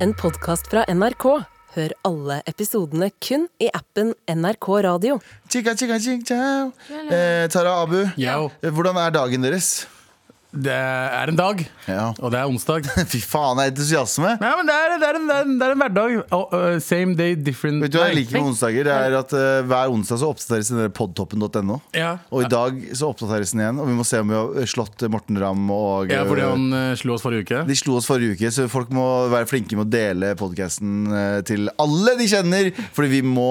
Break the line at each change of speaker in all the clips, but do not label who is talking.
en podkast fra NRK. Hør alle episodene kun i appen NRK Radio.
Chica, chica, ching, ciao. Eh, Tara Abu,
Yo.
eh, hvordan er dagen deres?
Det er en dag,
Ja.
og det er onsdag.
Fy faen, det er entusiasme.
Nei, men det er, det er, en, det er, en, det er en hverdag. Oh, uh, same day, different
Vet du hva jeg
Nei,
liker med onsdager? Det er at eh, Hver onsdag så oppdateres den der podtoppen.no.
Ja.
Og i dag så oppdateres den igjen, og vi må se om vi har slått eh, Morten Ramm og
Ja, fordi
eh,
han uh, slo oss forrige uke.
De slo oss forrige uke, så folk må være flinke med å dele podkasten til alle de kjenner. Fordi vi må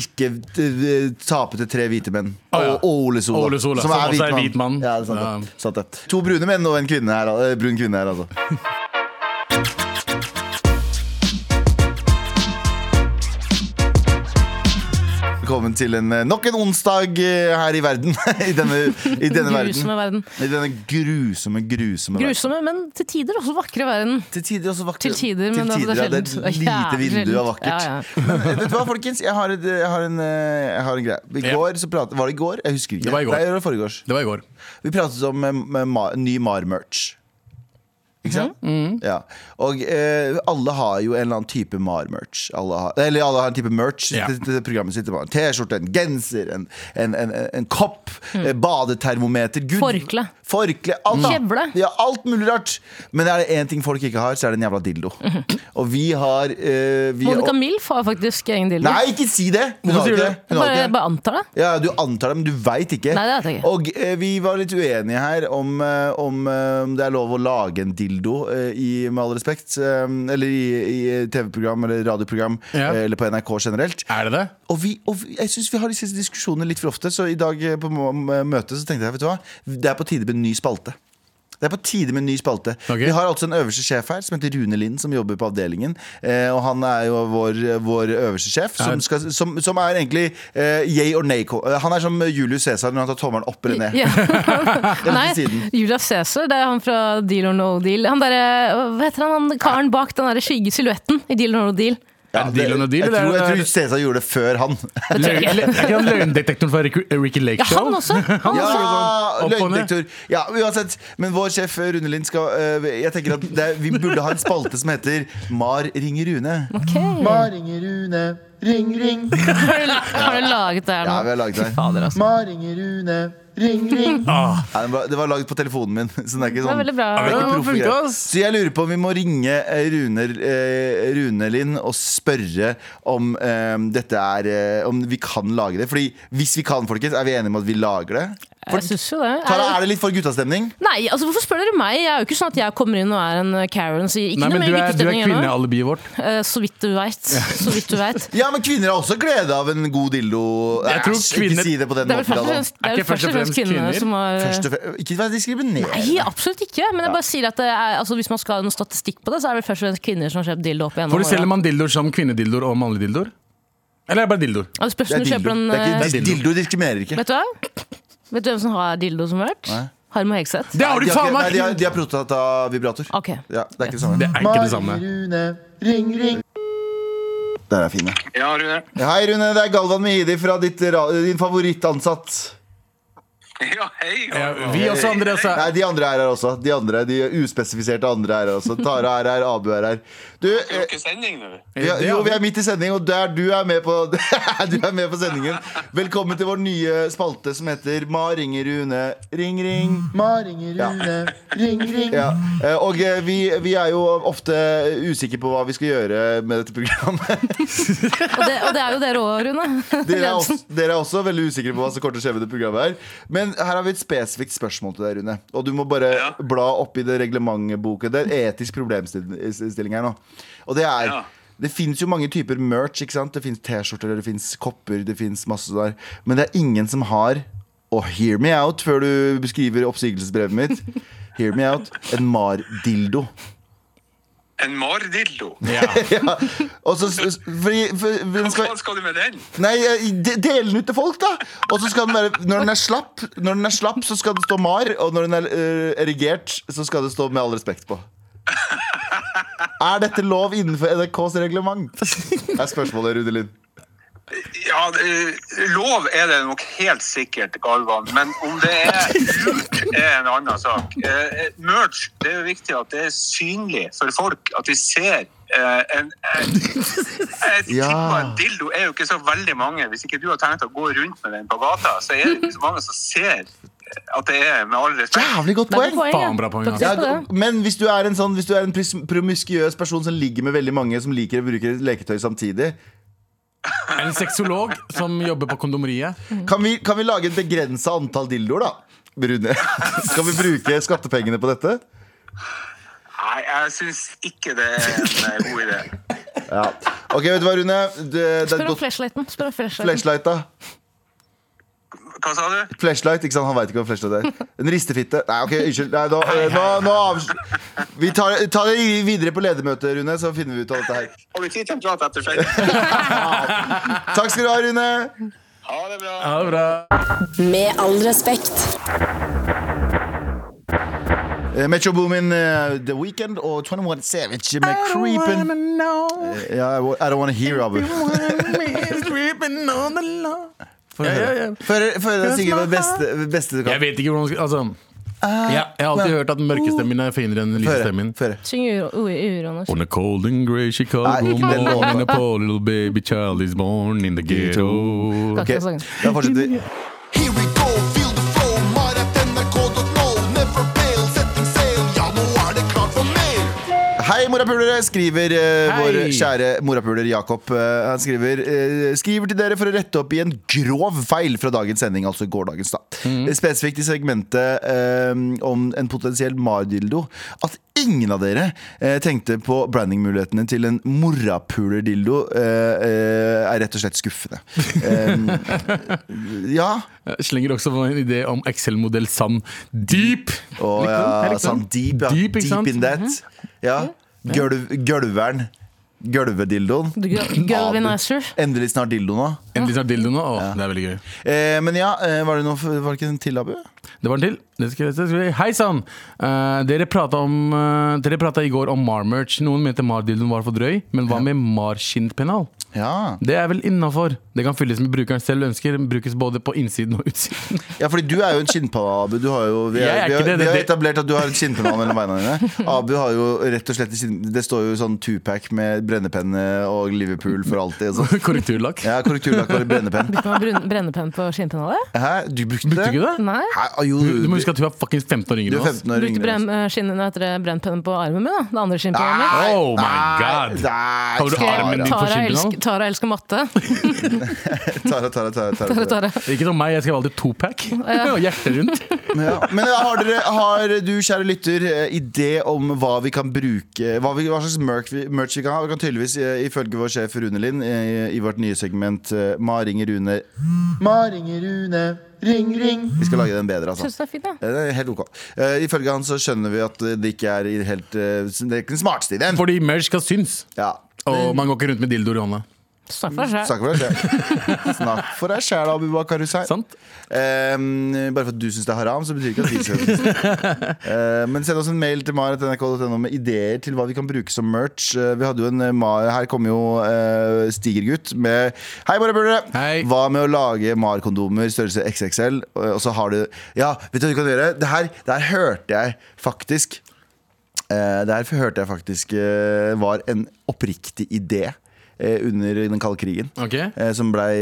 ikke eh, tape til tre hvite menn.
Å, ja.
Og Ole Sola.
Ole Sola, som også er hvit mann.
Ja, det er sant, det. sant det. To brune menn og en kvinne her, eh, brun kvinne her, altså. Velkommen til en, eh, nok en onsdag eh, her i verden. I denne, i denne verden.
Grusomme verden.
I denne grusomme, grusomme verden.
Grusomme, men til tider også vakre verden.
Til tider også vakkert.
Til tider, men
Til
altså,
tider, ja, det
det
er
er sjeldent.
et
Det er
lite
jævlig
vindu av
sjeldent.
vakkert.
Ja,
Men eh, vet du hva, folkens? Jeg har, et, jeg har, en, eh, jeg har en greie. I
Ja.
går så pratet, Var det i går? Jeg husker ikke.
Det var i går.
Nei, det var foregårs.
Det var i går.
Vi pratet om eh, med ma, ny Mar-merch. Ikke sant? Ja. Og eh, alle har jo en eller annen type Mar-merch. Alle har- Eller alle har en type merch.
Ja.
Det, det programmet sitter på en T-skjorte, en genser, en, en, en, en, en kopp, eh, badetermometer Gud,
Forkle.
Forkle, alt da.
Kjevle.
Ja, alt mulig rart. Men er det én ting folk ikke har, så er det en jævla dildo. Og vi har eh, vi,
Monica Milf har faktisk egen dildo.
Nei, ikke si det! Hun
Hvorfor
har
sier
ikke
du
det.
det?
Hun har ikke
Bare,
det.
bare antar det.
Ja, Du antar det, men du veit ikke.
Nei, det vet jeg ikke.
Og eh, vi var litt uenige her om, eh, om eh, om det er lov å lage en dildo, eh, i, med all respekt. Eh, eller i, i TV-program eller radioprogram,
Ja.
eh, eller på NRK generelt.
Er det det?
Og, vi, og vi, jeg synes vi har disse diskusjonene litt for ofte, så i dag eh, på må- m- møtet så tenkte jeg vet du hva, det er på tide med en ny spalte. Det er på tide med en ny spalte.
Ok.
Vi har altså en øverste sjef her som heter Rune Lind, som jobber på avdelingen. Eh, og han er jo vår, vår øverste sjef, som,
Er-
skal, som, som er egentlig eh, yay or nay. ko- eh, Han er som Julius Cæsar når han tar tommelen opp eller ned.
Ja. Nei,
siden.
Julius Cæsar, det er han fra Deal or No Deal. Han derre Hva heter han, han karen bak den derre skygge silhuetten i Deal or No Deal?
Ja,
Er det deal or no deal,
jeg,
eller
tror,
er
jeg
det-
tror Cæsar gjorde det før han.
Lø- eller- Er ikke han løgndetektoren fra Ricky, Ricky Lake
Ja,
Show?
han også! Han også.
Ja,
Opp og ned.
løgndetektor. Ja, uansett. Men vår sjef eh, Rune Lind skal øh, Jeg tenker at det, er- vi burde ha en spalte som heter Mar ringer Rune.
Ok.
Mar ringer Rune, ring, ring.
Har du, la- har du laget det her
Ja,
nå?
vi har laget det.
Fader, altså.
Mar ringer Rune, ring, ring.
Ah,
Nei, det, var, det var laget på telefonen min, så det er ikke
Det var
sånn.
veldig bra.
det er
Ja,
ikke
det
proffe
funket,
greier.
ass.
Så jeg lurer på om vi må ringe eh, Rune, eh, Rune Lind og spørre om eh, dette er eh, Om vi kan lage det. Fordi hvis vi kan, folkens, er vi enige om at vi lager det?
Jeg syns jo det.
Tara,
Er-
er det litt for guttastemning?
Nei, altså Hvorfor spør dere meg? Jeg er jo ikke sånn at jeg kommer inn og er en eh, Karen og sier ikke
Nei,
noe
men
mer
du er, du er
lykkestemning ennå.
kvinnealibiet vårt.
Eh, Så vidt du veit. Så vidt du vet.
Ja, men kvinner har også glede av en god dildo.
Jeg tror
Æsj, Ikke
kvinner-
si det på den
Det er vel
måten.
først og
da.
fremst, det er
Er
vel først og fremst kvinner som har
Først og fremst- Ikke vær diskriminerende.
Eh, Nei, absolutt ikke. Men jeg bare sier at det er, altså, hvis man skal ha noen statistikk på det, så er det vel først og fremst kvinner som har kjøpt dildo opp igjennom
For du selger
åra.
man dildoer som kvinnedildoer og mannlige dildoer? Eller er det bare dildoer?
Ja, det spørs
Det
om
er
du kjøper
dildo. Det
en
er
eh,
ikke,
Det er dildo.
dildo diskriminerer ikke.
Vet du hva? Vet du hvem som har dildo som merch?
Nei.
Harm og Hegseth.
Det har du
de,
faen
ikke, nei,
meg!
de har, de har prostatavibrator.
Ok.
Ja, det er ikke det samme.
Det er ikke det samme.
Der er fine.
Ja, Rune.
Hei, Rune. Det er Galvan Mehidi fra ditt, ra- din favorittansatt.
Ja, hei.
Ja, vi også, Andreas. er-
Nei, de andre er her også. De andre, de uspesifiserte andre er her også. Tara er her, Abu er her. Du,
Det er jo
eh,
ikke sending nå.
vi, er- jo, vi er midt i sending, og der du er med på Du er med på sendingen. Velkommen til vår nye spalte som heter Ma ringer Rune. Ring, ring. Ja. Ja. eh, Og eh, vi, vi er jo ofte usikre på hva vi skal gjøre med dette programmet.
Og det, og det er jo dere òg, Rune.
Dere er, også, dere er også veldig usikre på hva som kommer til å skje med det programmet her. Men her har vi et spesifikt spørsmål til deg, Rune. Og du må bare
Ja.
bla opp i det reglementboka. Det er en etisk problemstilling her nå. Og det er
Ja.
Det fins jo mange typer merch. ikke sant? Det fins T-skjorter, det fins kopper, det fins masse der. Men det er ingen som har Og hear me out før du beskriver oppsigelsesbrevet mitt. Hear me out. En Mar-dildo.
En mardildo.
Ja. Og så fordi- for- for den
Hva
skal-
faen skal du med den?
Nei, jeg- de- del den ut til folk, da! Og så skal den være Når den er slapp, når den er slapp så skal det stå MAR, og når den er eh, erigert, så skal det stå med all respekt på. Er dette lov innenfor NRKs reglement? er spørsmålet, Rune Lind.
Ja, eh, lov er det nok helt sikkert, Galvan. Men om det er lurt, er eh, en annen sak. Eh, Merch, det er jo viktig at det er synlig for folk. At de ser eh, en, en, jeg
Ja.
tipper en dildo er jo ikke så veldig mange. Hvis ikke du har tenkt å gå rundt med den på gata, så er det ikke så mange som ser eh, at det er med all respekt.
Jævlig godt
Det er et
poeng!
poeng, ja.
Faen, bra poeng,
Du har
ass.
ikke
Ja,
sett på det.
men hvis du er en sånn Hvis du er en pris- promiskuøs person som ligger med veldig mange som liker å bruke leketøy samtidig,
En sexolog som jobber på kondomeriet.
Mm.
kan vi, kan vi lage et begrensa antall dildoer, da? Brune. Skal vi bruke skattepengene på dette?
Nei, jeg syns ikke det er en eh, god idé.
Ja. Ok, vet du hva, Rune? Det, det er
Spør
et
om
godt
flashlighten. Spør om flashlighten.
flashlight, da.
Hva sa du?
Flashlight, ikke sant? Han veit ikke hva flashlight er. En ristefitte. Nei, ok, unnskyld. Nei, nå, eh, nå, nå avs- Vi tar, tar det videre på ledermøtet, Rune, så finner vi ut av dette her.
Har vi tid til en prat etter sending?
Takk skal du ha, Rune.
Ha det bra.
Ja, det er bra.
Med all respekt.
Eh, Metro Boomin, eh, The Weekend og 21 Savage med Creepin'. Eh, Ja, I wa- I don't wanna hear av
Ja, ja, ja.
Før før jeg synger det beste, beste du
Jeg
kan.
vet ikke hvordan altså,
Ah,
ja, Jeg har alltid hørt at den mørke stemmen min er finere enn den lyse
Før,
stemmen.
før.
Syng uro- uro- uroen.
On a cold and grey Chicago
Nei, ikke den låta.
morning, a poor little baby child is born in the ghetto.
Ok, Da fortsetter vi.
Here we go, feel the flow, maratnrk.no. Never fail, setting sail. Ja, nå er det klart for mer.
Hei, morapulere, skriver eh,
Hei.
vår kjære morapuler Jakob. Eh, han skriver, eh, skriver til dere for å rette opp i en grov feil fra dagens sending, altså gårsdagens. da. Eh, Spesifikt i segmentet eh, om en potensiell mardildo. At ingen av dere eh, tenkte på brandingmulighetene til en morapulerdildo, eh, eh, er rett og slett skuffende. Eh, ja.
Jeg slenger også på en idé om Excel-modell Sand Deep.
Og
Likte den? Jeg
ja,
likte den.
sånn deep, ja.
Deep,
deep,
ikke sant? Mhm.
in that. Ja. Gulv, gulveren. Gulvedildoen.
Galvanizer.
Endelig snart dildo nå.
Endelig snart sånn dildo nå. Å, Det er veldig gøy.
Eh, men ja, eh, var det, noe, var det ikke en til, Abu?
Det var en til. Det skal, det skal, hei sann! Eh, dere prata om, eh, dere pratet i går om Marmerch. Noen mente Mardildoen var for drøy, men hva med Marskinnpennal?
Ja.
Det er vel innafor. Det kan fylles med brukeren selv ønsker. Brukes både på innsiden og utsiden.
ja, fordi du er jo en skinnpanne, Abu. Du har jo, vi,
Jeg
er,
er
vi,
ikke
har,
det,
vi
det-
har etablert at du har en skinnpanne mellom beina dine. Abu har jo rett og slett i skinn- Det står jo sånn tupac med brennepenne og Liverpool for alltid. Og sånn.
Korrekturlakk.
ja, korrekturlakk og brennepenn.
Brukte man brun- brennepenn på skinnpennalet?
Hæ, du brukte det?
Brukte du ikke det?
Nei.
Hæ, ah, jo,
Du må huske at du er fuckings 15 år
du er
yngre enn oss.
15 år
Brukte
yngre. enn oss.
brenn, eh, skinn- hva heter det, brennpennen på armen min, da. Det andre skinnpennet mitt.
altså. Nei,
Oh my
nei,
God.
Nei,
Tar du armen din?
Tara,
for
Tara,
skinnpennal?
elsker, Tara elsker matte.
Tara, Tara, Tara,
Tara,
Tara.
Tara.
Ikke som meg, jeg skrev alltid topack. Og hjertet rundt.
Ja. Men eh, har, dere, har du, kjære lytter, eh, idé om hva vi kan bruke Hva, vi, hva slags merch vi, merch vi kan ha? Vi kan tydeligvis, eh, ifølge vår sjef Rune Lind, eh, i vårt nye segment eh, Ma ringer Rune Ma ringer Rune, ring, ring. Vi skal lage den bedre, altså.
Syns du det er fint, da?
Eh, Det er helt ok. Eh, ifølge han så skjønner vi at det ikke er i helt eh, Det er ikke den smarteste ideen.
Fordi merch skal synes.
Ja.
Og man går ikke rundt med dildoer i hånda.
Snakk for deg selv.
Snakk for deg selv. Snakk for deg sjæl, Abubakar Hussein.
Sant?
Ehm, bare for at du syns det er haram, så betyr ikke at vi syns det. Ehm, men send oss en mail til maret.nrk.no med ideer til hva vi kan bruke som merch. Eh, vi hadde jo en eh, ma- Her kom jo eh, Stigergutt med Hei, bare burde
Hei.
Hva med å lage Mar-kondomer størrelse XXL? Og, og så har du Ja, vet du hva du kan gjøre? Det her, det her hørte jeg faktisk. Eh, det her hørte jeg faktisk eh, var en oppriktig idé eh, under den kalde krigen
Ok?
eh, som blei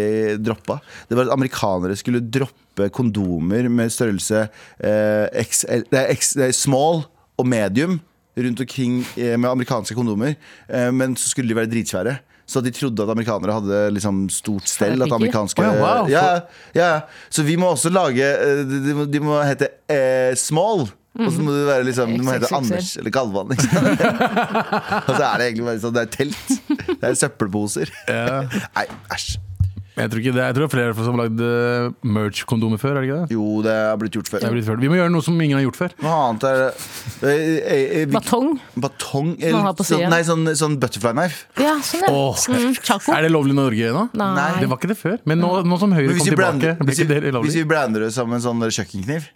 droppa. Det var at amerikanere skulle droppe kondomer med størrelse eh, XL, nei, X, nei, small og medium rundt omkring eh, med amerikanske kondomer. Eh, men så skulle de være dritsvære. Så de trodde at amerikanere hadde liksom stort stell. At
Herregud.
amerikanske
Å ja, wow.
ja, ja, ja. Så vi må også lage eh, De, de, må, de må hete eh, small. Og så må det være liksom, du må hete
XXXL.
Anders eller Galvan. Ikke sant? og så er det egentlig bare sånn, det er telt. Det er søppelposer. Nei, æsj.
Jeg tror, ikke det. jeg tror det er flere som har lagd eh, merch-kondomer før. er det ikke det?
Jo, det har blitt gjort
Det
før.
er blitt før. Vi må gjøre noe som ingen har gjort før.
Noe annet er eh, eh, eh, hvilk-
Batong.
Batong?
man
Eller,
har på siden.
sånn, nei, sånn, sånn butterfly knife.
Ja, sånn, ja.
Åh.
Mm, Chaco.
Er det lovlig i Norge nå?
Nei.
Det var ikke det før. Men nå, nå som Høyre
Men
kom
hvis vi,
tilbake,
brander,
blir
hvis, vi,
ikke det
hvis vi
lovlig?
brander det som en sånn kjøkkenkniv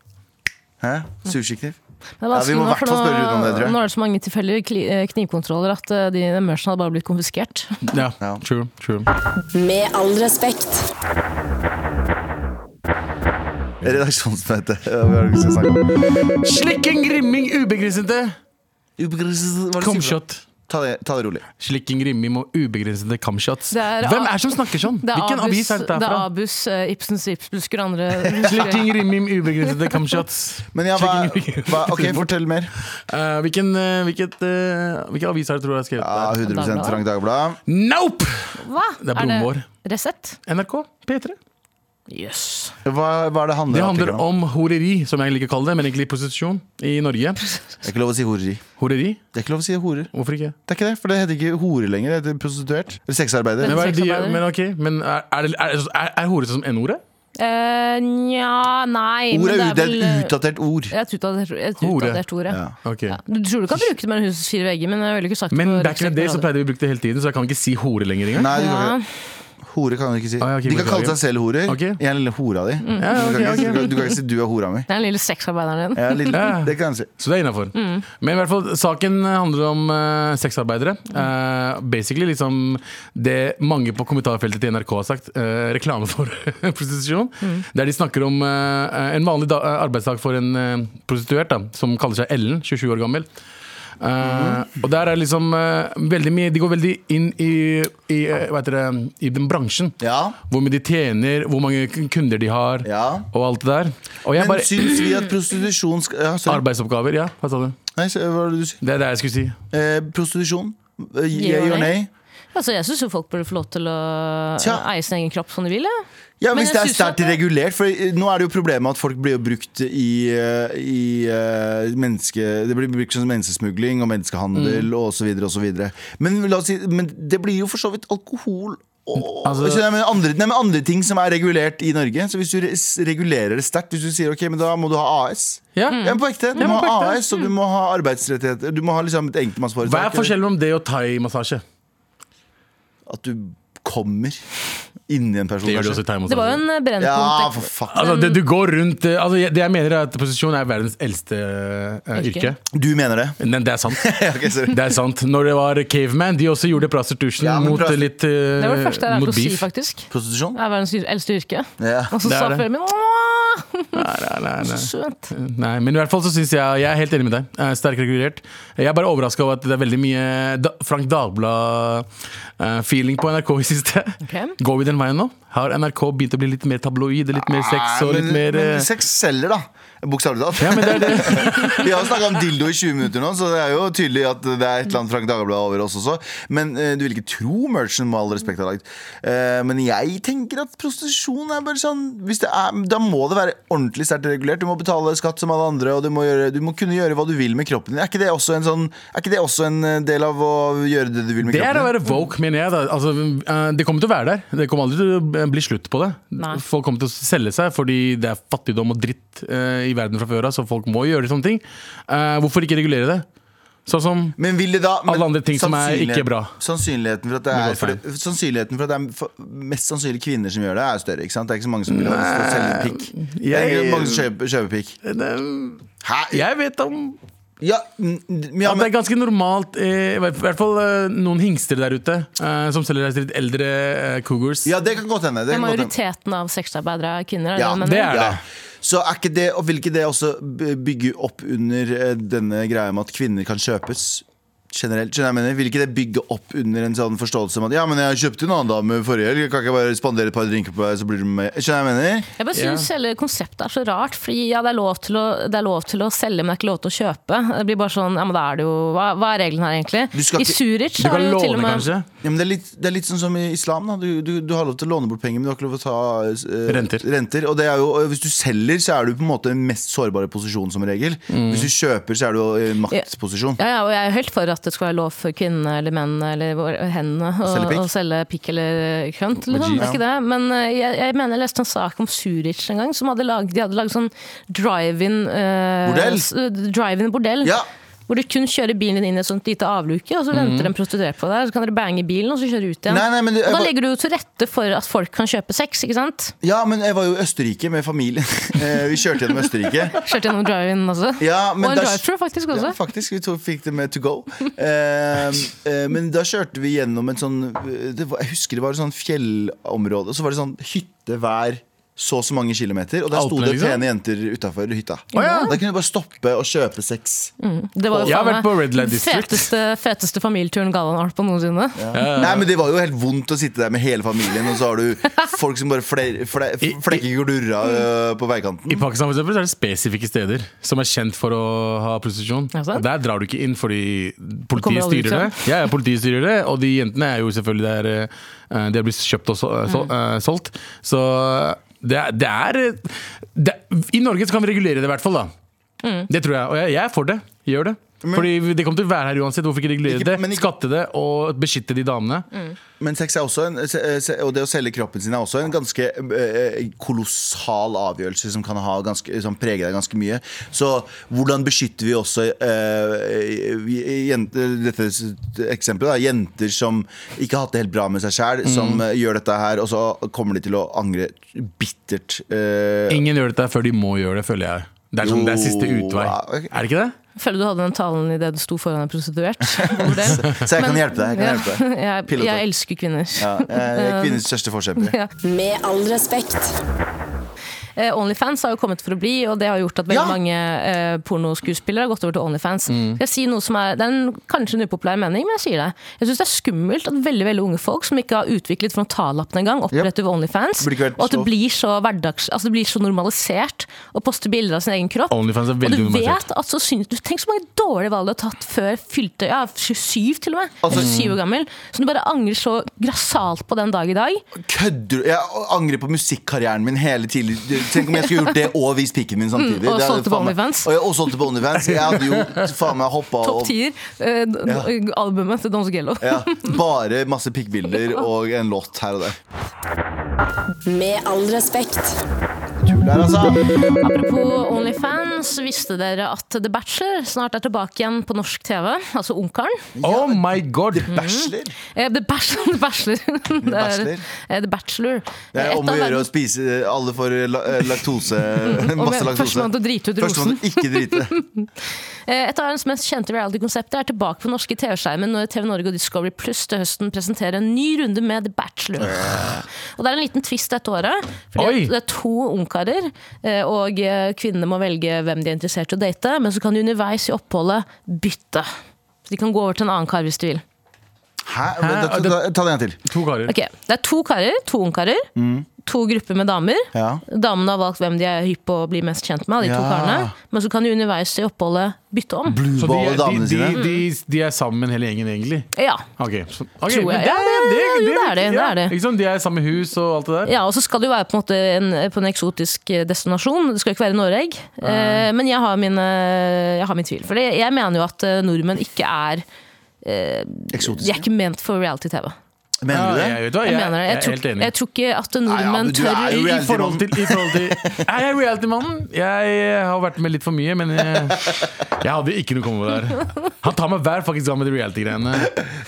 Hæ? Sushikniv?
Det er vanskelig
Ja, vi må
nå,
i hvert
for
fall spørre Rune om det, tror
nå,
jeg.
nå er det så mange tilfeldige kli- eh, knivkontroller at eh, de den merchen hadde bare blitt konfiskert.
Ja,
Ja.
true, true.
Med all respekt.
Redaksjonsmøte. Ja, vi har ikke skal snakke om det.
Slikking, grimming, ubegrensede
Ubegrenset- hva er det du sier for noe?
kumshot.
Ta det, ta det rolig.
Slikking, rimming og ubegrensede camshots.
Det er
Hvem er
A-
det som snakker sånn?
Det er
Hvilken
Abus,
avis er dette
det er
fra?
Abus, eh, Ibsens Ibsbusker og andre
Slikking, rimming, ubegrensede camshots.
Men ja, hva,
Slikking, rimming,
hva, ok,
ubegrensede
fortell mer.
Eh, hvilken, eh, hvilket, eh, hvilken avis har du tror jeg har skrevet
Ja,
det?
100 Frank Dagblad.
Nope!
Hva?
Det er broren vår.
Resett?
NRK P3.
Jøs. Yes.
Hva, hva er det handler
Det handler
artikkelen
om horeri, som jeg liker å kalle det, men egentlig prostitusjon i Norge.
Det er ikke lov å si horeri.
Horeri?
Det er ikke lov å si horer.
Hvorfor ikke?
Det er ikke det, for det heter ikke hore lenger. Det heter prostituert. Eller sexarbeider.
Men, hva er, det de,
Sexarbeider.
men ok, men er, er, det- er, er, er hore sånn som n-ordet?
Eh, Nja, nei men
Ord er,
det
u- det er
vel,
et
eh,
utdatert ord.
Jeg er et utdatert et
Hore.
utdatert ord, ja.
Ja.
Ok.
Ja. Du tror du kan bruke det mellom hus og fire vegger, men jeg ville ikke sagt
Men
det på
back in the day så
radio.
pleide vi å bruke det hele tiden, så jeg kan ikke si hore lenger engang.
Nei, du kan
ja.
ikke Hore kan du ikke si.
Ah, ja, ok,
de kan kalle
beklager.
seg selv horer.
Ok.
Jeg er den lille hora
Mm.
di.
Ja,
Du, kan ikke,
ok,
si-
ok.
du, kan, du kan ikke si du er hora mi.
Det er den lille sexarbeideren din.
Jeg er lille,
Ja.
Det kan jeg si.
Så det er innafor. Men i hvert fall, saken handler om eh, sexarbeidere. Eh, basically liksom det mange på kommentarfeltet til NRK har sagt, eh, reklame for prostitusjon. Der de snakker om eh, en vanlig da, arbeidsdag for en eh, prostituert da, som kaller seg Ellen, 27 år gammel. Eh, Og der er liksom eh, veldig mye De går veldig inn i, i, eh, hva heter det, i den bransjen.
Ja.
Hvor mye de tjener, hvor mange kunder de har,
Ja.
og alt det der. Og jeg
Men
bare,
syns vi at prostitusjon skal ja, sorry.
Arbeidsoppgaver, ja. Hva sa du?
Nei, så- hva var det du sier?
Det er det jeg skulle si.
Eh, prostitusjon. Eh,
Ja
Yeah or
og nei.
nay?
Altså, jeg syns jo folk burde få lov til å
Tja.
eie sin egen kropp som de vil. Ja.
Ja,
Men
Hvis det
jeg
er
synes
sterkt
at det-
regulert. For eh, nå er det jo problemet at folk blir jo brukt i, eh, i eh, menneske... Det blir brukt som menneskesmugling og
Mm.
menneskehandel og så videre og så videre. Men, la oss si, men det blir jo for så vidt alkohol og
Altså-
Så nei, men andre, nei, men andre ting som er regulert i Norge. Så hvis du re- s- regulerer det sterkt, hvis du sier ok, men da må du ha AS
Ja.
Mm.
Ja, men på ekte. Du
Ja, men
må
på
ha
ekte. Mm.
AS, og du må ha arbeidsrettigheter. Du må ha liksom et enkeltmannsforetak.
Hva er forskjellen mellom det og thaimassasje?
At du kommer inni en person.
Det gjør du
kanskje.
også i
Det var
thaimassasje.
jo en eh, brennpunkt.
Ja,
ek-
for fuck.
Altså, det, du går rundt eh, altså, jeg- Det jeg mener er at posisjon er verdens eldste eh,
Yrke.
yrke.
Du mener det?
Men det er sant.
Ok, sorry.
Det er sant. Når det var caveman, de også gjorde prostitution
Ja, men
mot
prosti-
litt
det var det første
uh,
jeg lærte
mot
å si,
beef.
faktisk.
Prostitusjon?
Det er verdens eldste yrke.
Ja.
Og så
Det er
sa
det.
før min Åh,
Nei, nei, nei, nei.
søt.
Nei, men i hvert fall så synes jeg Jeg er helt enig med deg. Jeg er Sterkt regulert. Jeg er bare overraska over at det er veldig mye Da- Frank Dagblad-feeling på NRK i siste.
Ok.
Går vi den veien nå? Har NRK begynt å bli litt mer tabloid? Litt mer sex og
Nei,
litt
Ah, men,
mer eh,
men sex selger, da. Bokstavelig talt.
Ja, men det er det.
Vi har snakka om dildo i 20 minutter nå, så det er jo tydelig at det er et eller annet Frank Dagbladet over oss også. Men eh, du vil ikke tro merchen med all respekt har lagd. Eh, men jeg tenker at prostitusjon er bare sånn hvis det er, Da må det være ordentlig sterkt regulert. Du må betale skatt som alle andre, og du må, gjøre, du må kunne gjøre hva du vil med kroppen din. Er ikke det også en, sånn, er ikke det også en eh, del av å gjøre det du vil med
Det er å
kroppen din?
være woke, mener jeg. Da. Altså, eh, det kommer til å være der. Det kommer aldri til å bli slutt på det.
Nei.
Folk kommer til å selge seg fordi det er fattigdom og dritt eh, i verden fra før av, så folk må gjøre sånne ting. Eh, hvorfor ikke regulere det? Sånn som
Men vil det da men
Alle andre ting som er
sannsynlighet-
ikke bra.
Sannsynligheten for at det
Med
er, for
gåstegn.
det, sannsynligheten for at det er for, mest sannsynlig kvinner som gjør det, er større. ikke sant? Det er ikke så mange som vil ha å selge pikk. Det er ikke mange som
jeg,
kjøper, kjøper pikk. Hæ?
jeg vet om
Ja, mm, mm, ja,
at det er
men
ganske normalt, eh, i hvert fall eh, noen hingster der ute, eh, som selger seg til litt eldre eh, cougars.
ja, det kan godt hende. Det
Men
kan godt hende.
Majoriteten av sexarbeidere er kvinner. er
Ja,
det, du mener?
det er
Ja. Så er ikke det, og vil ikke det også b- bygge opp under eh, denne greia med at kvinner kan kjøpes? Generelt, skjønner jeg hva jeg mener, Vil ikke det bygge opp under en sånn forståelse om at Ja, men jeg kjøpte en annen dame forrige helg, kan ikke jeg bare spandere et par drinker på deg, så blir du med? Skjønner jeg hva jeg mener?
Jeg bare synes hele konseptet er så rart. Fordi ja, det er, lov til å, det er lov til å selge, men det er ikke lov til å kjøpe. Det blir bare sånn, ja, men da er det jo Hva, hva er reglene her,
Du
egentlig?
skal
I
ikke-
Du
Zurich er
kan
det jo til og
låne,
med
kanskje?
Ja, men det, er litt, det er litt sånn som i islam. Da. Du, du, du har lov til å låne bort penger, men du har ikke lov til å ta eh,
Renter.
Og det er jo, og hvis du selger, så er du på en måte den mest sårbare posisjonen som regel. Hvis du kjøper, så er du i en maktposisjon.
Ja, ja, og jeg er jo helt for at det skal være lov for kvinnene eller mennene eller hvor- hendene å
Selge pikk?
å selge pikk eller kønt. Liksom. Det
jeans.
er ikke det. Men eh, jeg, jeg mener jeg leste en sak om Zurich en gang, som hadde lag, de hadde lagd sånn drive-in eh,
Bordell?
s- eh, drive-in bordell.
Ja. Mhm.
Hvor du kun kjører bilen din inn i et sånt lite avluke, og så venter en prostituert på deg. Så kan dere bange bilen, og så kjøre ut igjen.
Nei, nei, men det-
og da
jeg-
legger du jo til rette for at folk kan kjøpe sex, ikke sant?
Ja, men jeg var jo i Østerrike med familien. Eh, Vi kjørte gjennom Østerrike.
Kjørt gjennom drive-in også.
Ja, men
og en
da-
drive-thru faktisk også.
Ja, faktisk. Vi to fikk det med to go. Eh, eh, men da kjørte vi eh, gjennom en sånn det var, Jeg husker det var et sånn fjellområde, og så var det sånn hytte hver så og så mange kilometer, og der sto
Alpene,
det
liksom?
pene jenter utafor hytta.
ja.
Der kunne du bare stoppe og kjøpe sex.
Det var jo
Jeg har
faen
vært
meg
på Red Light District.
Feteste, feteste familieturen Galvan har vært på noensinne.
Nei, men Det var jo helt vondt å sitte der med hele familien, og så har du folk som bare fle fle flekker gordura øh, på veikanten.
I Pakistan for eksempel, så er det spesifikke steder som er kjent for å ha prostitusjon.
Er det sant?
Og der drar du ikke inn fordi politiet
kommer aldri
styrer det.
ut
Ja, ja, politiet styrer det, og de jentene er jo selvfølgelig der eh, De har blitt kjøpt og så, så,
Mm.
eh, solgt. Så eh, det, er- det er eh, det, I Norge så kan vi regulere det, i hvert fall. da
Mm.
Det tror jeg. Og jeg, jeg er for det. Gjør det. fordi det kommer til å være her uansett. Hvorfor ikke regulere
Ikke- men
det?
ikke-
Skatte det og beskytte de damene.
Mm.
Men sex er også en, se- se- og det å selge kroppen sin er også en ganske eh, kolossal avgjørelse som kan ha ganske, som preger deg ganske mye. Så hvordan beskytter vi også eh, vi- jenter, dette s- eksempelet, da, jenter som ikke har hatt det helt bra med seg sjæl, som eh, gjør dette her, og så kommer de til å angre bittert. eh,
Ingen gjør dette før de må gjøre det, føler jeg. Det er, sånn, det er siste
Jo,
utvei.
ja, ok.
Er det ikke det?
Føler du hadde den talen idet du sto foran en prostituert? God del.
så jeg kan hjelpe deg. Jeg kan hjelpe deg.
jeg,
Pilot, da.
jeg elsker kvinner.
Ja, jeg er kvinnens største forkjemper.
Med all respekt.
Eh, Onlyfans har jo kommet for å bli, og det har gjort at veldig
Ja. Mm.
mange eh, pornoskuespillere har gått over til Onlyfans. Skal jeg si noe som er, Det er en, kanskje en upopulær mening, men jeg sier det. Jeg syns det er skummelt at veldig veldig unge folk som ikke har utviklet frontallappen engang, oppretter Onlyfans.
Burde ikke vært
Og at det
lov.
blir så hverdags, altså det blir så normalisert å poste bilder av sin egen kropp.
Onlyfans er
Og
veldig
du
normalisert.
vet at så syns du Tenk så mange dårlige valg du har tatt før fylte ja, 27, til og med.
Altså-
27 år gammel. Som du bare angrer så grassat på den dag i dag.
Kødder du? Jeg angrer på musikkarrieren min hele tidlig. Tenk om jeg skulle gjort det og vist pikken min samtidig.
Mm, og
Det hadde
solgt det
faen
på
meg-
OnlyFans.
Og jeg, og solgte på OnlyFans. Jeg hadde jo faen meg hoppa
Topp
og
tier. Eh, d- d- Albumet til Don Zugello.
ja, Bare masse pikkbilder og en låt her og der.
Mm.
Med all respekt.
Der, altså.
Apropos Onlyfans, visste dere at The Bachelor snart er tilbake igjen på norsk TV? Altså Ungkaren.
Mm.
Oh my god!
Bachelor.
Eh, The Bachelor. The Bachelor. Det er-
Bachelor?
eh, The Bachelor.
Det
Et
er om
av
å gjøre å
verdens- Mm,
spise eh, Alle får la- laktose. Masse
om-
laktose.
førstemann til å drite ut
Førstemann til ikke drite.
eh, Et av verdens mest kjente reality-konsepter er tilbake på norske TV-skjermen når TV Norge og Discovery Pluss til høsten presenterer en ny runde med The Bachelor. Og det er en liten twist dette året.
Oi!
Fordi at det er to ungkarer, eh, og eh, kvinnene må velge hvem de er interessert i å date. Men så kan de underveis i oppholdet bytte. Så de kan gå over til en annen kar hvis de vil.
Hæ? Men, da, ta, ta det en til.
To karer.
Ok, Det er to karer, to ungkarer. To grupper med damer.
Mm. Ja.
Damene har valgt hvem de er hypp på å bli mest kjent med. av de to
Ja.
karene Men så kan de underveis i oppholdet bytte om.
Så de,
Blueball og
de,
damene
de,
sine.
de, de er sammen hele gjengen, egentlig?
Ja.
Ok, så, ok,
Tror jeg.
men
Ja, det- jo, det er det, det er det.
Ikke sant? De er i samme hus og alt det der?
ja, Og så skal det jo være på en, måte en, på en eksotisk eh, destinasjon. Det skal jo ikke være Norge. Eh, men jeg har, mine, jeg har min tvil. For det- jeg mener jo at eh, nordmenn ikke er eh, De er
Eksotiske.
ikke ment for reality-TV.
Mener du
Ja,
det?
jeg, vet du hva,
Jeg,
jeg,
mener det. Jeg,
jeg er
tror,
helt enig.
jeg tror ikke at
Nei, ja, men
nordmenn
du
tør
er jo
I, I
Reality-mannen.
forhold til, i forhold til Er jeg reality-mannen? Jeg eh, har vært med litt for mye, men jeg, jeg hadde ikke noe kommet over der. Han tar meg hver faktisk gang med de reality-greiene.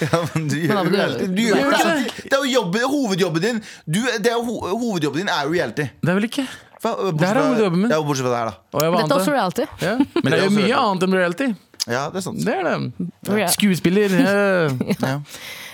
Ja, men du gjør jo
Abu, du-
reality. Du gjør jo
Nei,
reality. Det er jo jobben, hovedjobben din. Du, det er jo, ho- hovedjobben din er jo reality.
Det er vel ikke
Hva- øh, bortsett
Det her er
fra-
hovedjobben min.
Ja, bortsett fra det her, da.
og jeg var
Dette er også
annet.
reality.
Ja. Men det er jo
Det er også
mye annet enn reality.
Ja, det er sant.
Det er det.
Ja.
Skuespiller. eh,
Ja.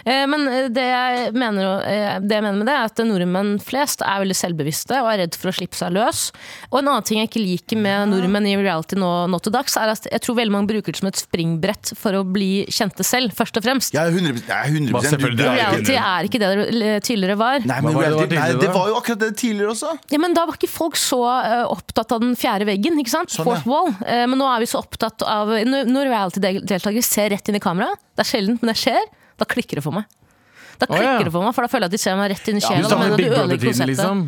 Eh, Men eh, det jeg, mener, eh, det jeg mener med det, er at nordmenn flest er veldig selvbevisste og er redd for å slippe seg løs. Og en annen ting jeg ikke liker
Ah.
med nordmenn i reality nå, nå til dags, er at jeg tror veldig mange bruker det som et springbrett for å bli kjente selv, først og fremst.
Jeg er 100%, jeg er 100
Bare selvfølgelig, det
du-
er jo ikke-
Reality er ikke det det eh, tidligere var.
Nei, men
Hva var det det var
reality, nei,
tidligere,
det
da?
var jo akkurat det tidligere også.
Ja, men Da var ikke folk så eh, opptatt av den fjerde veggen. ikke sant?
Sånn, ja.
Fourth wall. Eh, Men nå er vi så opptatt av Når når reality-deltakere ser rett inn i kamera, det er sjeldent, men det skjer, da klikker det for meg. Da klikker
ja.
det for meg, for da føler jeg at de ser meg rett inn i
Du
sjela. da mener
savner
jeg at
Big
du ødelegger
Brother-tiden,
konseptet.
liksom?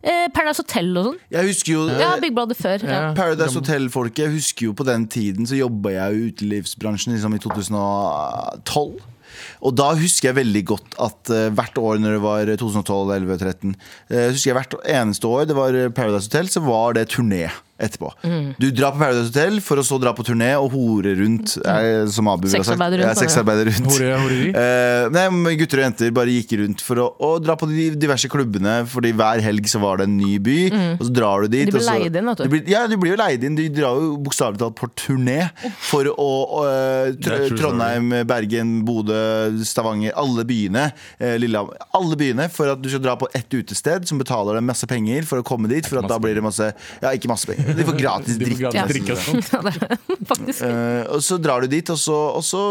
Eh, Paradise Hotel og sånn.
Jeg husker jo
Ja,
eh,
Big Brother før. Ja.
Ja.
Paradise Hotel-folket. Jeg husker jo på den tiden så jobba jeg jo i utelivsbransjen liksom i 2012. Og da husker jeg veldig godt at eh, hvert år når det var 2012, 11 og 13 eh, Husker jeg hvert eneste år det var Paradise Hotel, så var det turné etterpå.
Mm.
Du drar på Paradise Hotel for å så dra på turné og hore rundt. eh, som Abu ville ha sagt.
Mm. Sexarbeider rundt,
Ja, sexarbeider rundt.
Hore- horeri?
Eh, nei, men gutter og jenter bare gikk rundt for å, å dra på de diverse klubbene, Fordi hver helg så var det en ny by. Og så drar du dit.
Mm. De blir
og så,
leid inn, vet du.
blir, ja, du blir jo leid inn. Du drar jo bokstavelig talt på turné for å, å eh,
Det
tr
er true
Trondheim, Bergen, Bodø, eh, Stavanger, alle byene, eh, Lillehammer Alle byene for at du skal dra på ett utested som betaler deg masse penger for å komme dit. For at da blir det masse Ja, ikke masse penger. De får gratis
De får
dritt.
gratis drikke og sånt.
Ja, det er det. Faktisk.
Eh, og så drar du dit, og så, og så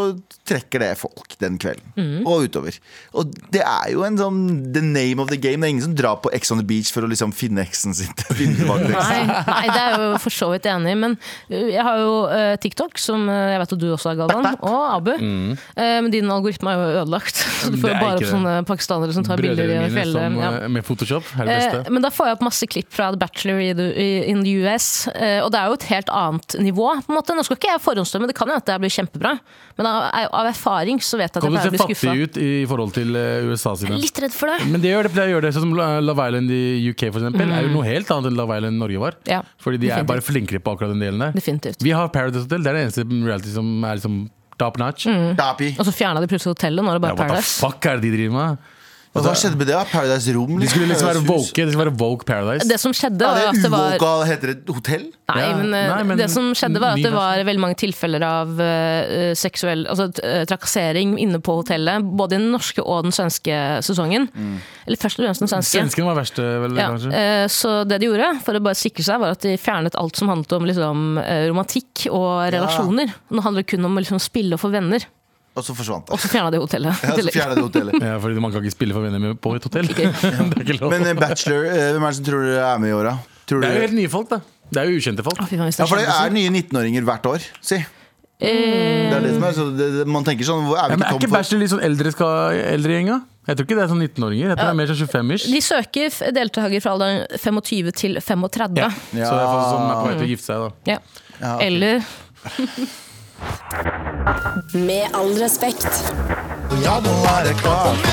trekker det folk den kvelden. Og utover. Og det er jo en sånn the name of the game. Det er ingen som drar på Ex on the beach for å liksom finne eksen sin. Finne tilbake til eksen.
Nei, nei, det er jeg jo for så vidt enig i. Men uh, jeg har jo uh, TikTok, som uh, jeg vet at du også har, Galvan. Og Abu. Uh, men din algoritme er jo ødelagt. Så du
Mm. Det er
får jo bare
ikke
opp
det.
sånne pakistanere som tar bilder
Brødrene
i
mine
fjellet.
som,
Ja.
eh, med Photoshop er det
Eh,
beste.
men da får jeg opp masse klipp fra The Bachelor i, the- i, in the US. eh, og det er jo et helt annet nivå. på en måte. Nå skal ikke jeg forhåndsdømme, det kan jo at det her blir kjempebra. Men av, av erfaring så vet jeg at jeg
Kom du
pleier
til
å
å se
bli skuffa.
fattig ut i forhold til eh, USA
Jeg
sine?
er Litt redd for det.
Men det gjør det, det gjør det Sånn som eh, Love Island i UK for eksempel, er jo noe helt annet enn Love Island Norge var.
Mm. Ja,
Fordi de er
definitivt.
bare flinkere på akkurat den delen der.
Definitivt.
Vi har Paradise Hotel, det er det eneste reality som er liksom top notch.
Dapi.
Og så fjerna de plutselig hotellet. Nå er det
Ja,
Mm, bare
what the
Paradise.
fuck er det de driver med?
Og hva skjedde med det? da? Paradise Room?
De skulle liksom være
Paradise Hus?
woke, det skulle være woke Paradise.
Det som skjedde,
Ja,
var jo at
det
det
er
var
uvoka, heter det hotell?
Nei,
Ja.
men, eh,
Nei, men
det som skjedde var at det
ny
var veldig mange tilfeller av eh, seksuell altså, t- eh, trakassering inne på hotellet. Både i den norske og den svenske sesongen.
Mm.
Eller først og fremst den svenske.
Svenskene var verste, vel,
Ja,
kanskje.
eh, så det de gjorde, for å bare sikre seg, var at de fjernet alt som handlet om liksom, eh, romantikk og relasjoner. Nå handler det kun om å liksom, spille og få venner.
Og så forsvant det.
Og så fjerna de hotellet.
Ja, så
Eller-
fjernet det hotellet.
Ja, fordi man kan ikke spille for venner med på et hotell. det er ikke lov.
Men eh, Bachelor, eh, hvem er det som tror dere er med i åra? Tror
det er jo
dere
helt nye folk, da. Det er jo ukjente folk.
Å, fy faen, hvis
ja, for det er
skjedde sånn.
nye 19-åringer hvert år, si.
Eh,
Det er det som er, så det, det- man tenker sånn hvor er vi
Ja, men
ikke
Er
tom
ikke
for?
Bachelor litt sånn eldre, skal- eldre gjeng, da? Jeg tror ikke det er sånn 19-åringer. Jeg tror det er mer sånn 25-ish.
de søker f- deltakere fra alderen 25 til 35.
Ja.
Ja.
Så det er folk som er på vei til å gifte seg, da.
ok.
Eller
Med all respekt.
Ja, nå er det klart!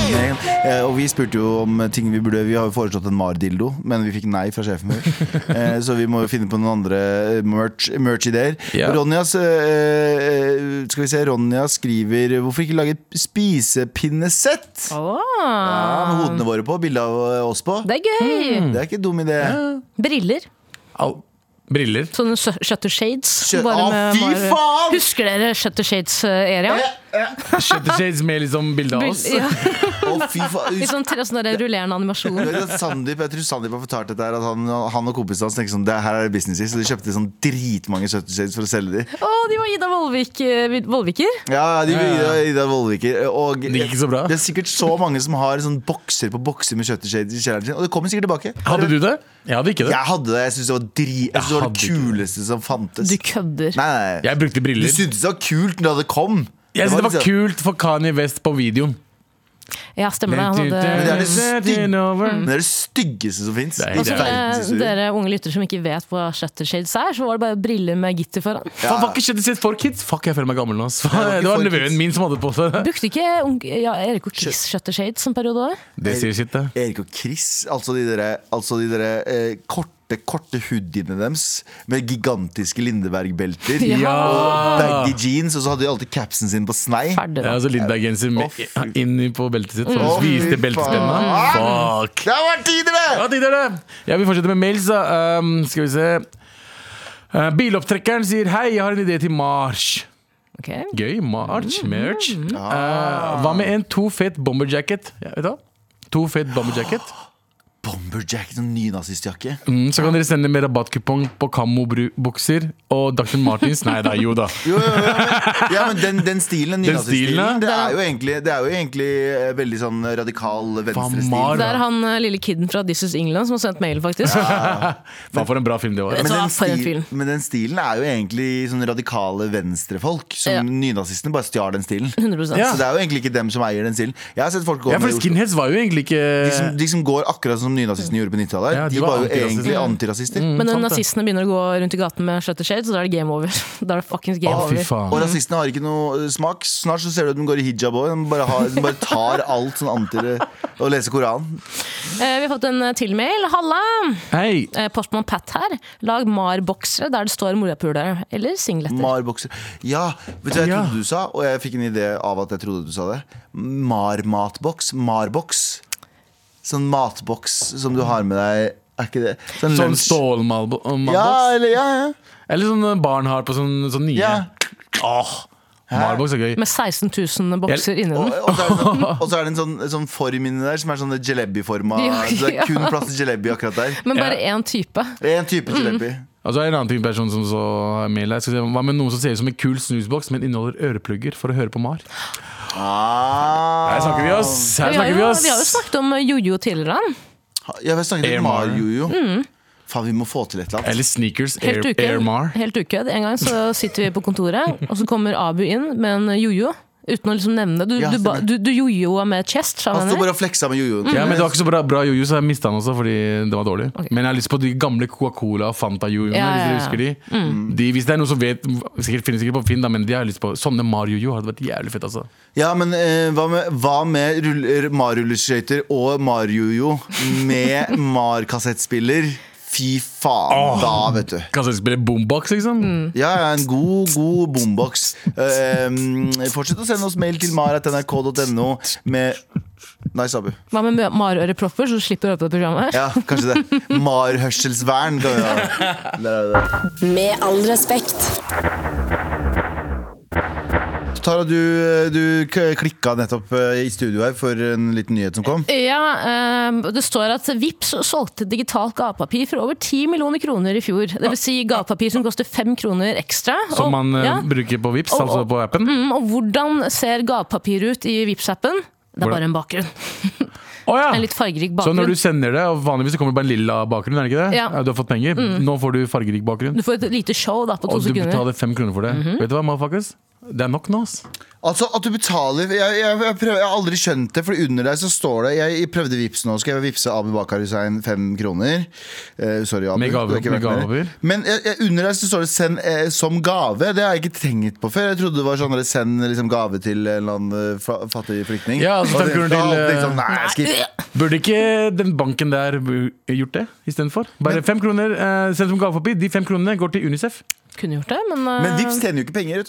Eh, Og vi spurte jo om ting vi burde Vi har jo foreslått en Mar-dildo, men vi fikk nei fra sjefen vår. Eh, Så vi må jo finne på noen andre eh, merch- merch-ideer.
Ja.
Ronjas eh, eh, Skal vi se, Ronja skriver Hvorfor ikke lage et spisepinnesett?
Åh,
Ja, med hodene våre på, bilde av oss på.
Det er gøy!
Det er ikke en dum idé.
Briller.
Al Briller.
Sånne su- shutter shades.
Shut-
bare
Å,
med
fy
bare-
faen!
Husker dere shutter eh, shades-area?
Shutter Shades med liksom bilde av oss.
Ja,
Å, fy faen.
litt sånn, tre- sånn der rullerende animasjon.
Du vet at Sandeep, jeg tror Sandeep har fortalt dette her At han, han og kompisene hans tenkte sånn Det her er business i Så de kjøpte sånn dritmange 70 shades for å selge de
Å, de var Ida Vollvik, eh, Vollviker.
Ja, de
ja, ja.
Ida, Ida Vollviker Og
Det gikk ikke så bra.
Det er sikkert så mange som har sånn bokser på bokser med 70 shades i kjelleren sin Og det kommer sikkert tilbake
Hadde du det? Jeg hadde ikke det.
Jeg hadde det, jeg synes det var dri Jeg synes det var
hadde
det
ikke det.
kuleste som fantes
Du kødder.
Nei, nei, nei
Jeg brukte
Du
briller.
syntes det var kult når det kom
Jeg synes det var
liksom-
kult for Kanye West på videoen.
Ja, stemmer det. Han
det
hadde
er det stygge-
over.
Men det er det styggeste som finnes
Det er
i
og så
helt
verdenshistorien.
dere, dere unge lyttere som ikke vet hva shutter shades er, så var det bare briller med gitter foran.
Faen, var ikke Shutter Shades for kids? Fuck, jeg føler meg gammel nå. ass.
var ikke
Det var
for
nevøen
kids.
min som hadde på seg det.
Brukte ikke unge, ja, Erik og Chris shutter shades en periode òg?
Det sier sitt, det.
Erik og Chris, altså de dere, altså de dere eh, korte, korte hoodiene deres med gigantiske Lindeberg-belter
Ja.
og baggy jeans, og så hadde de alltid capsen sin på snei.
Ferdig.
Ja,
da.
altså Lindberg-genser med-
Å, fy.
inni på beltet sitt. Så
Å, fy
viste beltespenna.
faen.
Fuck!
Det har vært tider, det!
Ja, tider
eh.
det! Jeg vil fortsette med mails, da. Um, skal vi se. Uh, bilopptrekkeren sier 'Hei, jeg har en idé til Mars'.
Ok.
Gøy. March.
Mm.
Merch. Uh, hva med en to fet bomberjacket? Ja, vet du hva? To fet bomberjacket.
Bomberjack, sånn nynazistjakke.
Mm, så kan dere sende med rabattkupong på Kammo-bukser og Dr. Martins. Nei da, jo da.
Jo, jo, jo, men- Ja, men den, den stilen, den
Den stilen,
nynaziststilen, det,
ja.
er jo egentlig- det er jo egentlig eh, veldig sånn radikal
Mar-
venstrestil.
Det er han eh, lille kiden fra This Is England som har sendt mail, faktisk.
Faen, for en bra film det var.
Men-
Men
Så
den,
for en
stil,
film.
men den stilen er jo egentlig sånn radikale venstrefolk. Som
Ja.
nynazistene bare stjal den stilen.
100%
Ja.
Så det er jo egentlig ikke dem som eier den stilen. Jeg har sett folk gå
Ja, for
med Oslo.
skinheads var jo egentlig
De som,
ikke
de som går akkurat som nynazistene gjorde på 90-tallet,
Ja, de
de
var
var jo
antirasister.
egentlig
Mm.
antirasister.
Men når
sant det.
nazistene begynner å gå rundt i gaten med shutter shades, da er det game over. Da er det fuckings game
Å, fy
over.
faen.
Og rasistene har ikke noe eh, smak. Snart så ser du at de går i hijab òg. De, bare har- de bare tar alt sånn anti- og leser Koranen.
Eh, vi har fått en eh, til mail. Halla!
Hei!
Eh, Postmann Pat her. Lag Mar-boksere der det står morapuler eller singleter.
Marbokser. Ja, vet du hva jeg
Ja.
trodde du sa? Og jeg fikk en idé av at jeg trodde du sa det. Marmatboks. Marboks. Sånn matboks som du har med deg. Er ikke det?
Sånn
lunsj-
stålmalboks?
Ja, eller ja, ja.
Eller sånn barn har på sånn, sånn nye?
ja.
Åh, Marlbox er gøy.
Med 16 000 bokser inni
Og,
den.
og, så er det sånn, og så er det en sånn, en sånn form inni der som er sånn jalebi-forma.
Ja,
Så det
ja. Mm.
er kun plass til jalebi akkurat der.
Men bare én type.
Det er en type jalebi.
Og så er det Altså, en annen ting person som så mail her. Skal vi se, Hva med noen som ser ut som en kul snusboks, men inneholder øreplugger for å høre på Mar?
Ah.
Her snakker vi oss! Her
Vi har,
snakker
jo,
vi
vi har jo
oss!
snakket om jojo tidligere.
Ja, vi har snakket
Air
om
Mar.
Mario.
Mm.
Faen, vi må få til et eller annet.
Eller sneakers. Air,
Helt
Air Mar.
ukødd. Helt ukødd. En gang så sitter vi på kontoret, og så kommer Abu inn med en jojo. Uten å liksom nevne det. Du,
Ja,
du, ba-
stemmer.
du, du jojoa med chest, sa
Han
han.
står bare og fleksa med jojoen.
Ja, men Det var ikke så bra, bra jojo, så jeg mista den også fordi den var dårlig. Men jeg har lyst på de gamle Coca-Cola og Fanta-jojoene.
Ja,
Hvis dere
ja, Mm. ja.
husker de. de Hvis det er noen som vet sikkert finnes sikkert på Finn, da, men de har jeg lyst på sånne Mar-jojo. Hadde vært jævlig fett, altså.
Ja, men eh, hva med, hva med rull- Mario-rulleskøyter og Mario-jo med Mar-kassettspiller? Fy faen, da, vet du.
Kanskje de spiller boombox, liksom?
Mm.
Ja, ja, en god, god bomboks. fortsett å sende oss mail til mar.nrk.no med Nice, Abu.
Hva med marørepropper, så slipper du å høre på det programmet?
Ja, kanskje det. Mar-hørselsvern. kan vi ha. Der er det.
Med all respekt.
Tara, du, du k- klikka nettopp eh, i studio her for en liten nyhet som kom.
Ja, ehm, Det står at Vips solgte digitalt gavepapir for over 10 millioner kroner i fjor. Det vil si gavepapir som koster 5 kroner ekstra.
Som
Og-
man eh,
ja.
bruker på Vips,
Og-
altså på appen.
Mm, og hvordan ser gavepapir ut i Vips-appen? Det
Hvordan?
er bare en bakgrunn.
Å, ja.
En litt fargerik
Så
bakgrunn.
når du
du...
sender det, og vanligvis så kommer det bare en lilla bakgrunn, er det ikke det?
Ja. Mm.
Ja, Du har fått penger. Nå får du fargerik bakgrunn.
får et lite show da, på to
Og du
sekunder. Mhm.
betaler fem kroner for det. Vet du hva, motherfuckers? Det er nok nå, ass.
Altså at du betaler Jeg, jeg, jeg, prøver, jeg har aldri skjønt det, for under deg så står det Jeg, jeg prøvde Vipps nå, skal jeg vippse Abu Bakar Hussein fem kroner. Eh, sorry, Abu.
Med gaver-
du har ikke vært
med
her.
gaver.
Men jeg, jeg, under deg så står det 'send eh, som gave'. Det har jeg ikke tenkt på før. Jeg trodde det var sånn at 'send liksom, gave til en eller annen eh, fra, fattig flyktning'.
Ja, altså,
Og
fem
det-
kroner
da
til,
hadde jeg
eh,
liksom, Nei, skipp.
Burde ikke den banken der bu- gjort det istedenfor? Bare fem kroner eh, sendt som gavepapir. De fem kronene går til Unicef.
Kunne gjort det, men,
Men
eh,
Vipps tjener jo ikke penger. vet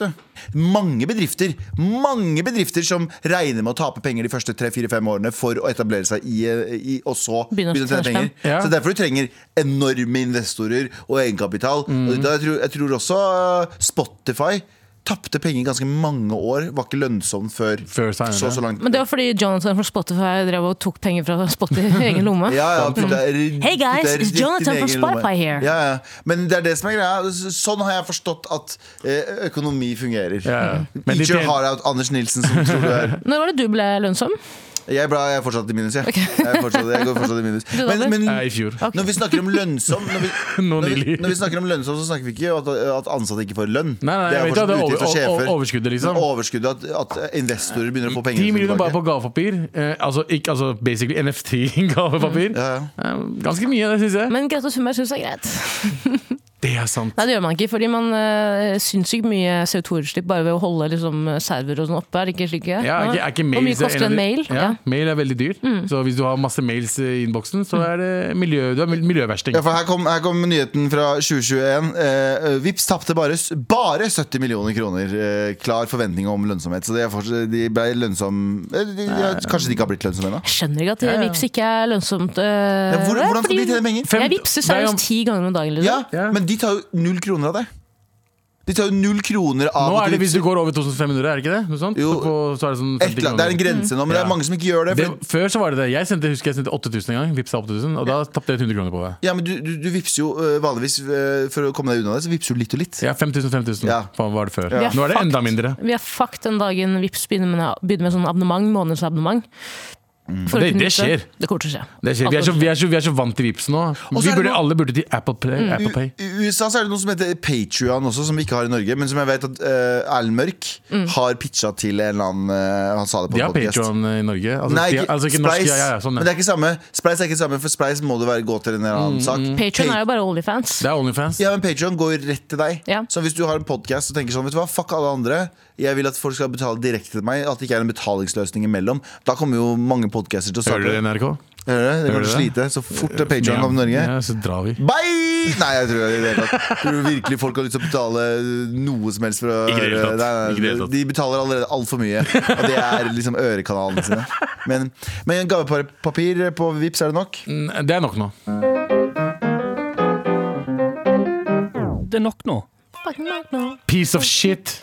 du Mange bedrifter Mange bedrifter som regner med å tape penger de første 3-4-5 årene for å etablere seg i, i og så
Begynne å
begynne å tjene
tjene
penger.
Ja.
Så derfor du trenger enorme investorer og egenkapital. Og da, jeg, tror, jeg tror også eh, Spotify tapte penger i ganske mange år. Var ikke lønnsom før,
Før senere.
så så langt.
men det var fordi Jonathan fra Spotify drev og tok penger fra Spotify i egen lomme.
ja, ja, putta-
Mm. Hey guys,
putta
it's
rett i
Jonathan
din
from
egen lomme.
Spotify here.
Ja, ja. Men det er det som er greia. Sånn har jeg forstått at eh, økonomi fungerer.
Mm.
Ja, ja. Men de
Eat your
tjener-
heart out, Anders Nilsen, som tror du er
Når var det du ble lønnsom?
Jeg, ble, jeg er fortsatt i minus, jeg. Jeg, er fortsatt, jeg går fortsatt i minus.
Du,
Men,
Anders?
men
Eh, I fjor.
Mm. Ok.
når vi snakker om lønnsom, når vi,
Nå
når vi,
nylig.
når vi snakker om lønnsom så snakker vi ikke at, at ansatte ikke får lønn.
Nei, nei,
det er
jeg vet at
fortsatt
det er
utgift
over-
og sjefer.
o- o- overskuddet, liksom.
Men Overskuddet at, at investorer begynner å få penger.
Ti millioner bare på
tilbake.
gavepapir. Eh, altså, ikke, altså basically NFT-gavepapir.
Ja, ja.
Eh, ganske mye, det syns jeg.
Men Grete Sumberg syns det er greit.
Det er sant.
Nei, det gjør man ikke, fordi man uh, sinnssykt mye CO2-utslipp bare ved å holde liksom, server og sånn oppe. Er det ikke slik? ja?
Ja, er ikke, er ikke mails,
Hvor mye koster
av
en
de-
mail?
Ja,
Ja. Mm.
Mail er veldig dyr. Så hvis du har masse mails i innboksen, så er det miljø, du er mil- miljøversting.
Ja, for her kom, her kom nyheten fra 2021. Eh, Vips tapte bare, s- bare 70 millioner kroner. Eh, klar forventning om lønnsomhet. Så de, er fortsatt, de ble lønnsom eh, de, de, Kanskje de ikke har blitt lønnsomme ennå?
Jeg skjønner ikke at
ja.
Vips ikke er lønnsomt. eh,
Ja, hvor- hvordan skal
fordi-
de tjene penger?
Jeg vipser seriøst ti ganger om dagen. Liksom.
Ja,
Ja.
men de tar jo null kroner av det. De tar jo null kroner av
Nå
at
er det
du-
hvis du går over 2500, er det ikke det? Noe sånt?
Jo.
Så, på, så er det sånn
et
50
eller annet, Det er en
kroner.
grense nå, men det
Ja.
er mange som ikke gjør det.
Det,
For,
før så var det det. Jeg sendte, husker jeg sendte 8000 en gang. Vipsa 8000, og da tapte jeg 100 kroner på det.
ja, men du, du, du vipser jo øh, vanligvis øh, For å komme deg unna det, så vipser du litt og litt.
Ja, 5000, 5000
Ja.
Faen, var det før.
Ja.
Nå er det enda mindre.
Vi er fucked den dagen Vips begynner med, begynner med sånn abonnement, månedsabonnement. For å
Mm. Det-
kunne
det
nytte-
skjer.
Det kommer til å skje.
Det skjer. Vi, er så, vi, er så, vi er så vant til Vipps nå.
Og så
Vi
er det
burde,
noe-
alle burde til Apple Play.
Mm.
Apple
I
Pay.
i USA så er det noe som heter Patrion også, som vi ikke har i Norge. Men som jeg vet at øh, Erlend Mørk
Mm.
har pitcha til en eller annen øh, Han sa det på
De har
en podcast.
Patron i Norge. Altså,
Nei,
de,
ikke,
altså ikke norsk.
Spleis.
Ja, ja, ja, sånn,
Men det
ja.
er ikke samme Spleis er ikke samme, for Spleis må du være, gå til en eller
Mm,
annen sak.
Patron
Pa-
er jo bare Onlyfans.
Det er Onlyfans.
Ja, men Patreon går rett til deg.
Ja.
Så hvis du har en podkast og tenker sånn, vet du hva, fuck alle andre, jeg vil at folk skal betale direkte til meg, at det ikke er en betalingsløsning imellom, da kommer jo mange podcaster til å
Hører
starte.
dere NRK?
Hører du det? Det kommer
Hører
til å
du
slite så fort det er Patreon kommer til Norge.
Ja, så drar vi.
Bye! Nei, jeg tror, jeg, tror du virkelig folk har lyst til å betale noe som helst for å
Ikke i det hele tatt.
Nei, nei,
Ikke i det hele tatt.
De betaler allerede altfor mye. Og det er liksom ørekanalene sine. Men, men gavepapir på Vipps er det nok?
Mm, Det er nok nå.
Det er nok nå.
Fucking Mac nå.
Piece of shit.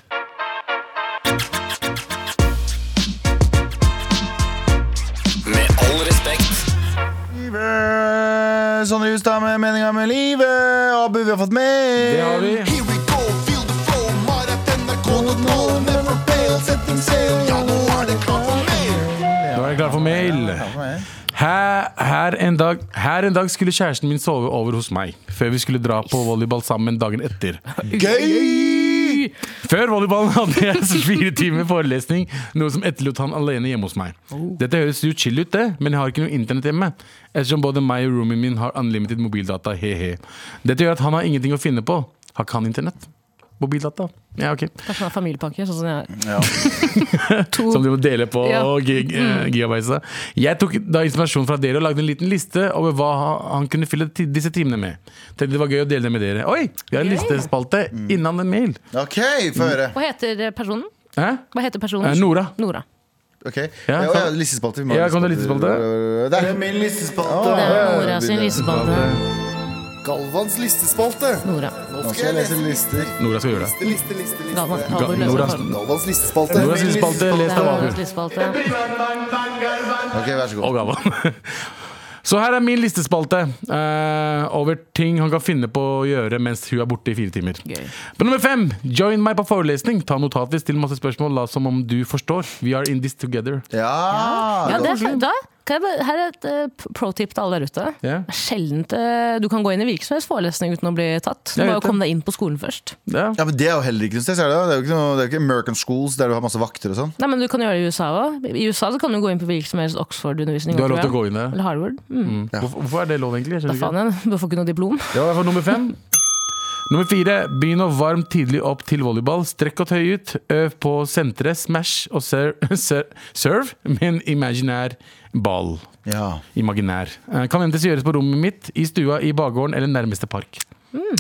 livet. Sondre Justad med meninga med livet. Abu, vi har fått mail.
Det har vi.
Here we go, feel the flow, maraton.nrk.no. Never fail, setting sail. Ja, nå er det klart for mer.
Nå er jeg klar for mail. Her, her, en dag, her en dag skulle kjæresten min sove over hos meg, før vi skulle dra på volleyball sammen dagen etter.
Gøy!
Før volleyballen hadde jeg så fire timer forelesning, noe som etterlot han alene hjemme hos meg. Dette høres jo chill ut, det, men jeg har ikke noe internett hjemme. Ettersom både meg og roomien min har unlimited mobildata, he-he. Dette gjør at han har ingenting å finne på. Har ikke han internett? Mobildata? Ja, ok.
Kanskje han har familiepakke, sånn som jeg.
Som de må dele på
Ja. Mm.
gig, eh, gigabyte. Jeg tok da inspirasjon fra dere og lagde en liten liste over hva han kunne fylle ti- disse timene med. Tenkte det var gøy å dele det med dere. Oi, vi har en listespalte innan en mail.
OK, få høre.
Hva heter eh, personen?
Hæ?
Hva heter personen?
Eh, Nora.
Nora.
Ok,
Ja,
ja,
kan-
ja, listespalte. Vi må ha
Ja, kan du ha
listespalte. Det er min
Det
listespalte.
er Nora sin lysbade.
Galvans listespalte.
Nora.
Nå
Nå skal jeg lese lister.
Nora skal gjøre det.
liste, liste, liste.
Galvan.
Ga
Halvor
Nora,
Løsland.
Galvans listespalte.
Nora sin spalte lest av Abu.
Noras lysbade.
Ok, vær så god.
Og Galvan. Så her er min listespalte eh, over ting han kan finne på å gjøre mens hun er borte i fire timer.
Gøy.
På nummer fem join meg på forelesning. Ta notatvis til masse spørsmål. La som om du forstår. We are in this together.
Ja,
Ja, det er, da, kan jeg bare, her er et eh, pro tip til alle der ute.
Ja.
Det er Sjeldent eh, du kan gå inn i hvilken som helst forelesning uten å bli tatt. Du
Jeg
må
vet
jo komme deg inn på skolen først.
Ja.
ja, men Det er jo heller ikke noe sted. så er Det da. Det er jo ikke, noe, det er jo ikke American schools der du har masse vakter og sånn.
Nei, men Du kan gjøre det i USA òg. I USA så kan du gå inn på hvilken som helst Oxford-undervisning.
Du har lov
tror
til å
jeg.
gå inn der.
Eller Harvard. Mm.
Hvorfor, hvorfor er det lov, egentlig? Jeg skjønner
Da
ikke.
faen igjen. Du får ikke noe diplom.
Det var i hvert fall nummer fem. Nummer fire, begynn å varme tidlig opp til volleyball. Strekk og tøy ut. Øv på sentre, smash og ser, ser, serve med en imaginær ball.
Ja.
Imaginær. Eh, Kan hentes gjøres på rommet mitt, i stua, i bakgården eller nærmeste park.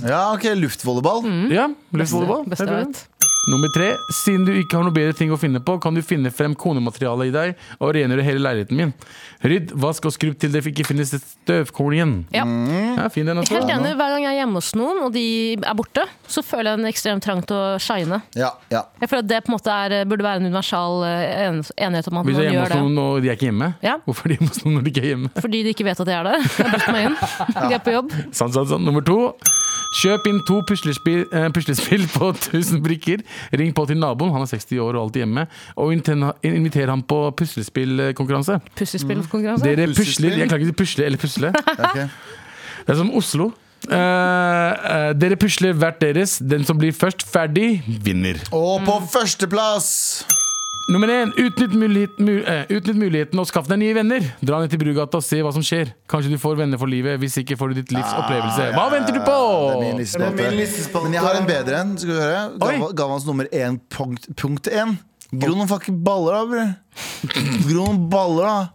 ja, ok, luftvolleyball.
Mm.
Ja, luftvolleyball.
Beste jeg vet.
Nummer tre, siden du ikke har noe bedre ting å finne på, kan du finne frem konematerialet i deg og rengjøre hele leiligheten min. Rydd, vask og skrubb til det ikke finnes et støvkorn igjen.
Ja.
Ja, fin den også.
Helt enig. Hver gang jeg er hjemme hos noen, og de er borte, så føler jeg en ekstrem trang til å shine.
Ja, ja.
Jeg føler at det på en måte er, eh, burde være en universal eh, en- enighet om at
Hvis jeg er
man
hjemme
gjør
hos
det.
noen og de er ikke hjemme,
Ja.
hvorfor er de hjemme hos noen når de ikke er hjemme?
Fordi de ikke vet at jeg er der. Jeg har brutt meg inn. De er på jobb.
Sånn, sånn, sånn. Nummer to. Kjøp inn to puslespill, eh, puslespill på 1000 brikker. Ring på til naboen, han er 60 år og alltid hjemme. Og inten- inviter ham på puslespillkonkurranse.
Puslespillkonkurranse.
Dere
Puslespill?
pusler Jeg klarer ikke å pusle eller pusle. Det er som Oslo. Eh, eh, dere pusler hvert deres. Den som blir først ferdig, vinner.
Og på førsteplass
Nummer én, utnytt, mulighet, mul, eh, utnytt muligheten og skaff deg nye venner. Dra ned til Brugata og se hva som skjer. Kanskje du får venner for livet. Hvis ikke får du ditt livs
Ah,
opplevelse. Hva venter du på?
Det er min listespalte. Men jeg har en bedre en. Skal du høre? Gav- Gavans nummer 1 punkt, punkt 1. Gro noen fucking baller, da, bror. Gro noen baller, da.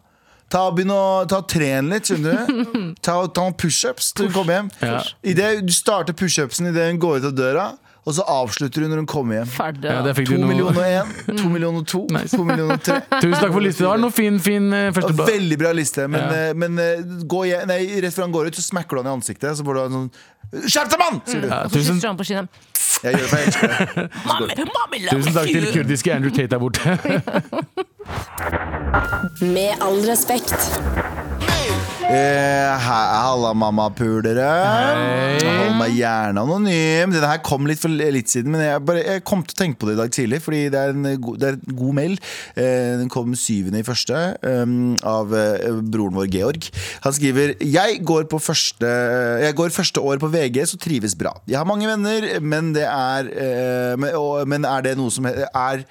Ta, begynn å ta tren litt, skjønner du. Ta, ta noen pushups til hun kommer hjem.
Ja.
I det, du starter pushupsen idet hun går ut av døra, og så avslutter hun når hun kommer hjem.
Ferdig.
Ja, der fikk
To
du
millioner
noe.
og én, to millioner og to,
Nice.
to millioner og tre.
Tusen takk for lista. Det var noe fin, fin eh,
Det var
førsteblad.
Veldig bra liste, men,
Ja.
eh, men eh, gå, hjem- nei, rett før han går ut, så smekker du han i ansiktet. Så får du en sånn Skjerp deg, mann! sier du.
Ja,
Og så
tusen,
sitter han på kinnet.
Jeg gjør det for jeg elsker det.
tusen takk til kurdiske Andrew Tate der borte.
Med all respekt.
Eh, he- Halla, mammapulere. Hold meg gjerne anonym. Denne her kom litt for litt siden, men jeg, bare, jeg kom til å tenke på det i dag tidlig. Fordi det er en, go- det er en god mail. Eh, den kom syvende i første um, av eh, broren vår Georg. Han skriver Jeg går på første Jeg går første år på VG, så trives bra. Jeg har mange venner, men det er eh, men, og, men er det noe som he- er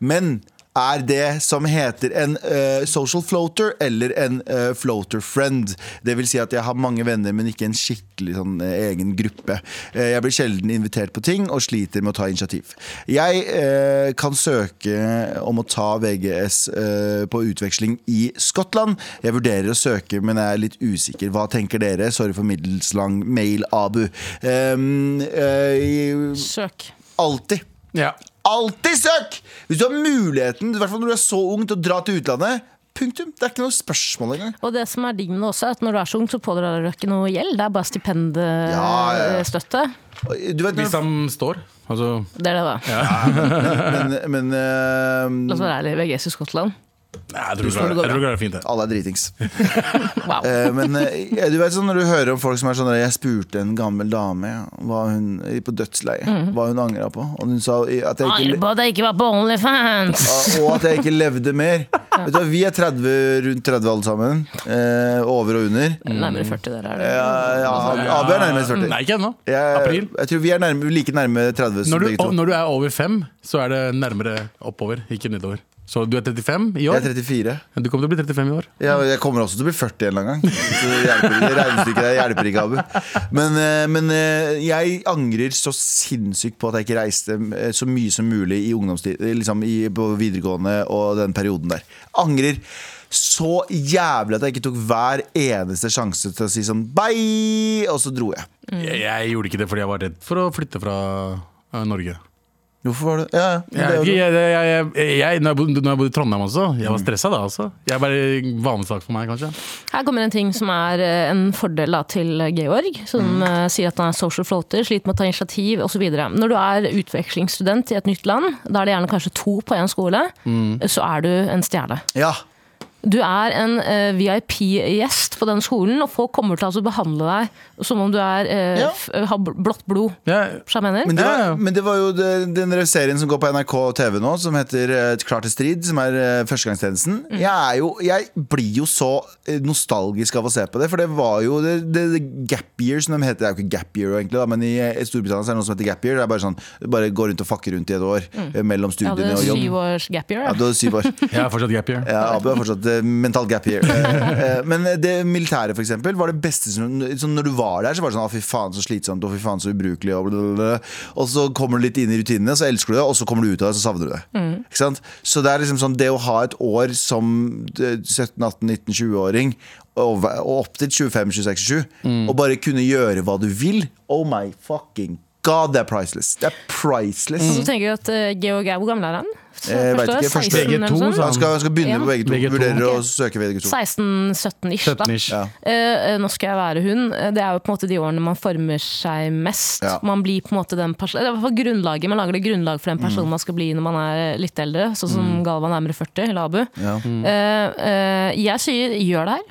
Men er det som heter en eh, social floater eller en eh, floater friend. Det vil si at jeg har mange venner, men ikke en skikkelig sånn, eh, egen gruppe. Eh, jeg blir sjelden invitert på ting og sliter med å ta initiativ. Jeg eh, kan søke om å ta VGS eh, på utveksling i Skottland. Jeg vurderer å søke, men er litt usikker. Hva tenker dere? Sorry for middelslang mail, Abu. Um, eh,
Søk.
alltid.
Ja.
Alltid søk! Hvis du har muligheten, i hvert fall når du er så ung, til å dra til utlandet. Punktum. Det er ikke noe spørsmål engang.
Og det som er digg med det også, er at når du er så ung, så pådrar du deg ikke noe gjeld. Det er bare
Ja, ja, ja.
stipendstøtte.
Du vet,
Hvis
men,
han står. Altså,
Det er det, da.
men, men
La
eh,
oss være ærlige. VGS i Skottland.
Nei, jeg tror
tror
det
det går
går- jeg tror det går fint. det.
Alle er dritings.
Wow.
Eh, Men eh, du vet sånn når du hører om folk som er sånn der, Jeg spurte en gammel dame ja, hva hun, på dødsleiet hva hun angra på, og hun sa at jeg
Angrer
ikke,
på at jeg ikke var på Onlyfans!
og at jeg ikke levde mer. Vet du, hva, vi er 30, rundt 30 alle sammen. Eh, over og under.
Nærmere 40 der er det.
Ja, ja, Abu er nærmest 40.
Mm, Nei, ikke ennå.
Jeg,
April.
jeg tror vi er nærme, like nærme 30 som
Når du,
begge to.
og når du er over fem, så er det nærmere oppover, ikke nedover. Så du er 35 i år.
Jeg er 34.
Du kommer til å bli 35 i år.
Ja, og jeg kommer også til å bli 40 en eller annen gang. Så det hjelper ikke. Regnestykket der hjelper ikke, Abu. Men, eh, men eh, jeg angrer så sinnssykt på at jeg ikke reiste eh, så mye som mulig i ungdomstid, eh, liksom i, på videregående og den perioden der. Angrer så jævlig at jeg ikke tok hver eneste sjanse til å si sånn bye, og så dro jeg.
Mm.
Jeg, jeg gjorde ikke det fordi jeg var redd for å flytte fra eh, Norge.
Hvorfor var det Ja, ja. men
Jeg,
det er
vet
jo-
ikke, jeg, jeg, jeg, jeg, jeg, når jeg bodde- når jeg bodde i Trondheim også, jeg
Mm.
var stressa da også. Jeg er bare vanesak for meg, kanskje.
Her kommer en ting som er eh, en fordel da, til Georg,
Mm.
som eh, sier at han er social floater, sliter med å ta initiativ osv. Når du er utvekslingsstudent i et nytt land, da er det gjerne kanskje to på én skole,
Mm.
så er du en stjerne.
ja.
Du er en eh, VIP-gjest på den skolen, og folk kommer til å altså, behandle deg som om du er, eh,
Ja.
f- har bl- blått blod.
Jeg,
Skjønner du hva jeg
Men
mener?
det, var,
Ja, ja.
men det var jo det- den der serien som går på NRK TV nå, som heter eh, Klar til strid, som er eh, førstegangstjenesten.
Mm.
Jeg, er jo, jeg blir jo så eh, nostalgisk av å se på det, for det var jo det, det, det gap year, som de heter. Det er jo ikke gap year, egentlig, da, men i, eh, i Storbritannia så er det noe som heter gap year. Det er bare sånn, du bare går rundt og fucker rundt i et år
Mm.
eh, mellom
Jeg
studiene
hadde
og jobb.
syv års gap year.
Ja,
jeg.
du hadde syv år.
jeg er fortsatt gap year.
Ja, Abu er fortsatt eh, mental gap year. Eh, eh, Men det militære, for eksempel, var det beste som sånn, Når du var der, så var det sånn Å, fy faen, så slitsomt, og fy faen, så ubrukelig, og blablabla. Og så kommer du litt inn i rutinene, så elsker du det, og så kommer du ut av det, så savner du det.
Mm.
Ikke sant? Så det er liksom sånn Det å ha et år som eh, 17-18-19-20-åring, og væ- og opp til 25-26-27,
Mm.
og bare kunne gjøre hva du vil Oh my fucking god, det er priceless. Det er priceless.
Så tenker jeg at eh, Georg er Hvor gammel er han?
Jeg vet ikke, første-
16 eller noe
VG2,
sånt?
sa
Han skal, han skal begynne
Ja.
på begge to.
Begge to.
Vurderer
Ok.
å søke VG2.
16-17-ish, da.
17 ish.
Ja.
Eh, eh, nå skal jeg være hun. Eh, Det er jo på en måte de årene man former seg mest.
Ja.
Man blir på en måte den personen Det er i hvert fall grunnlaget. Man lager det grunnlag for den
Mm.
personen man skal bli når man er eh, litt eldre. Sånn som Galvan nærmere 40, eller Abu.
Ja.
Eh, eh, jeg sier gjør det her.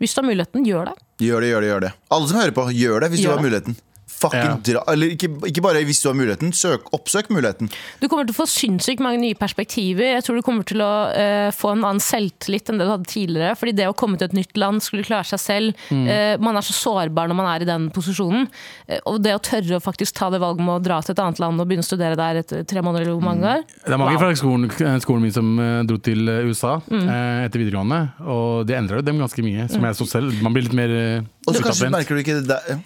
Hvis du har muligheten, gjør det.
Gjør det, gjør det, gjør det. Alle som hører på, gjør det hvis
Gjør
du har
det.
muligheten. Fucking dra Eller ikke, ikke bare hvis du har muligheten, søk, oppsøk muligheten.
Du kommer til å få sinnssykt mange nye perspektiver. Jeg tror du kommer til å eh, få en annen selvtillit enn det du hadde tidligere. Fordi det å komme til et nytt land, skulle klare seg selv
Mm.
eh, Man er så sårbar når man er i den posisjonen. Eh, og det å tørre å faktisk ta det valget med å dra til et annet land og begynne å studere der etter tre måneder eller hvor mange
Mm.
år Eh,
Det er mange fra skolen, skolen min som eh, dro til eh, USA
Mm.
eh, etter videregående, og det endra jo dem ganske mye. Som jeg så selv. Man blir litt mer eh,
Og så kanskje
utadvendt.
merker du ikke det der. Ja.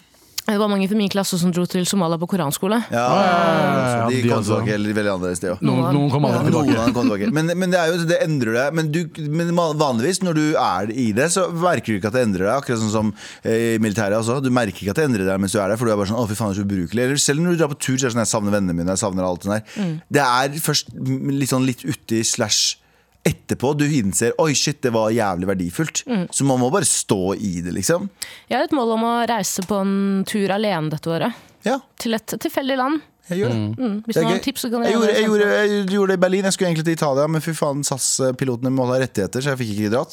Det var mange fra min klasse som dro til Somalia på koranskole.
Ja,
ja,
De
de
kom
også.
tilbake eller veldig annerledes, det òg.
Noen, noen kom aldri
Noen
tilbake.
av dem kom tilbake. Men, men det er jo, det endrer deg. Men, du, men vanligvis når du er i det, så merker du ikke at det endrer deg. Akkurat sånn som eh, i militæret også. Du merker ikke at det endrer deg mens du er der, for du er bare sånn å, fy faen, det er så ubrukelig. Eller selv når du drar på tur, så er det sånn jeg savner vennene mine, jeg savner alt det der. Det er først litt sånn litt uti slash etterpå du innser oi shit, det var jævlig verdifullt. Så man må bare stå i det, liksom.
Jeg har et mål om å reise på en tur alene dette året.
Ja,
Til et tilfeldig land.
jeg gjør det.
Mm. Hvis
Det er
noen har
gøy.
tips, så kan
Jeg
dere
gjorde,
gjerne
jeg,
sende
gjorde, jeg gjorde det i Berlin. Jeg skulle egentlig til Italia, men fy faen, SAS-pilotene må ha rettigheter, så jeg fikk ikke dratt.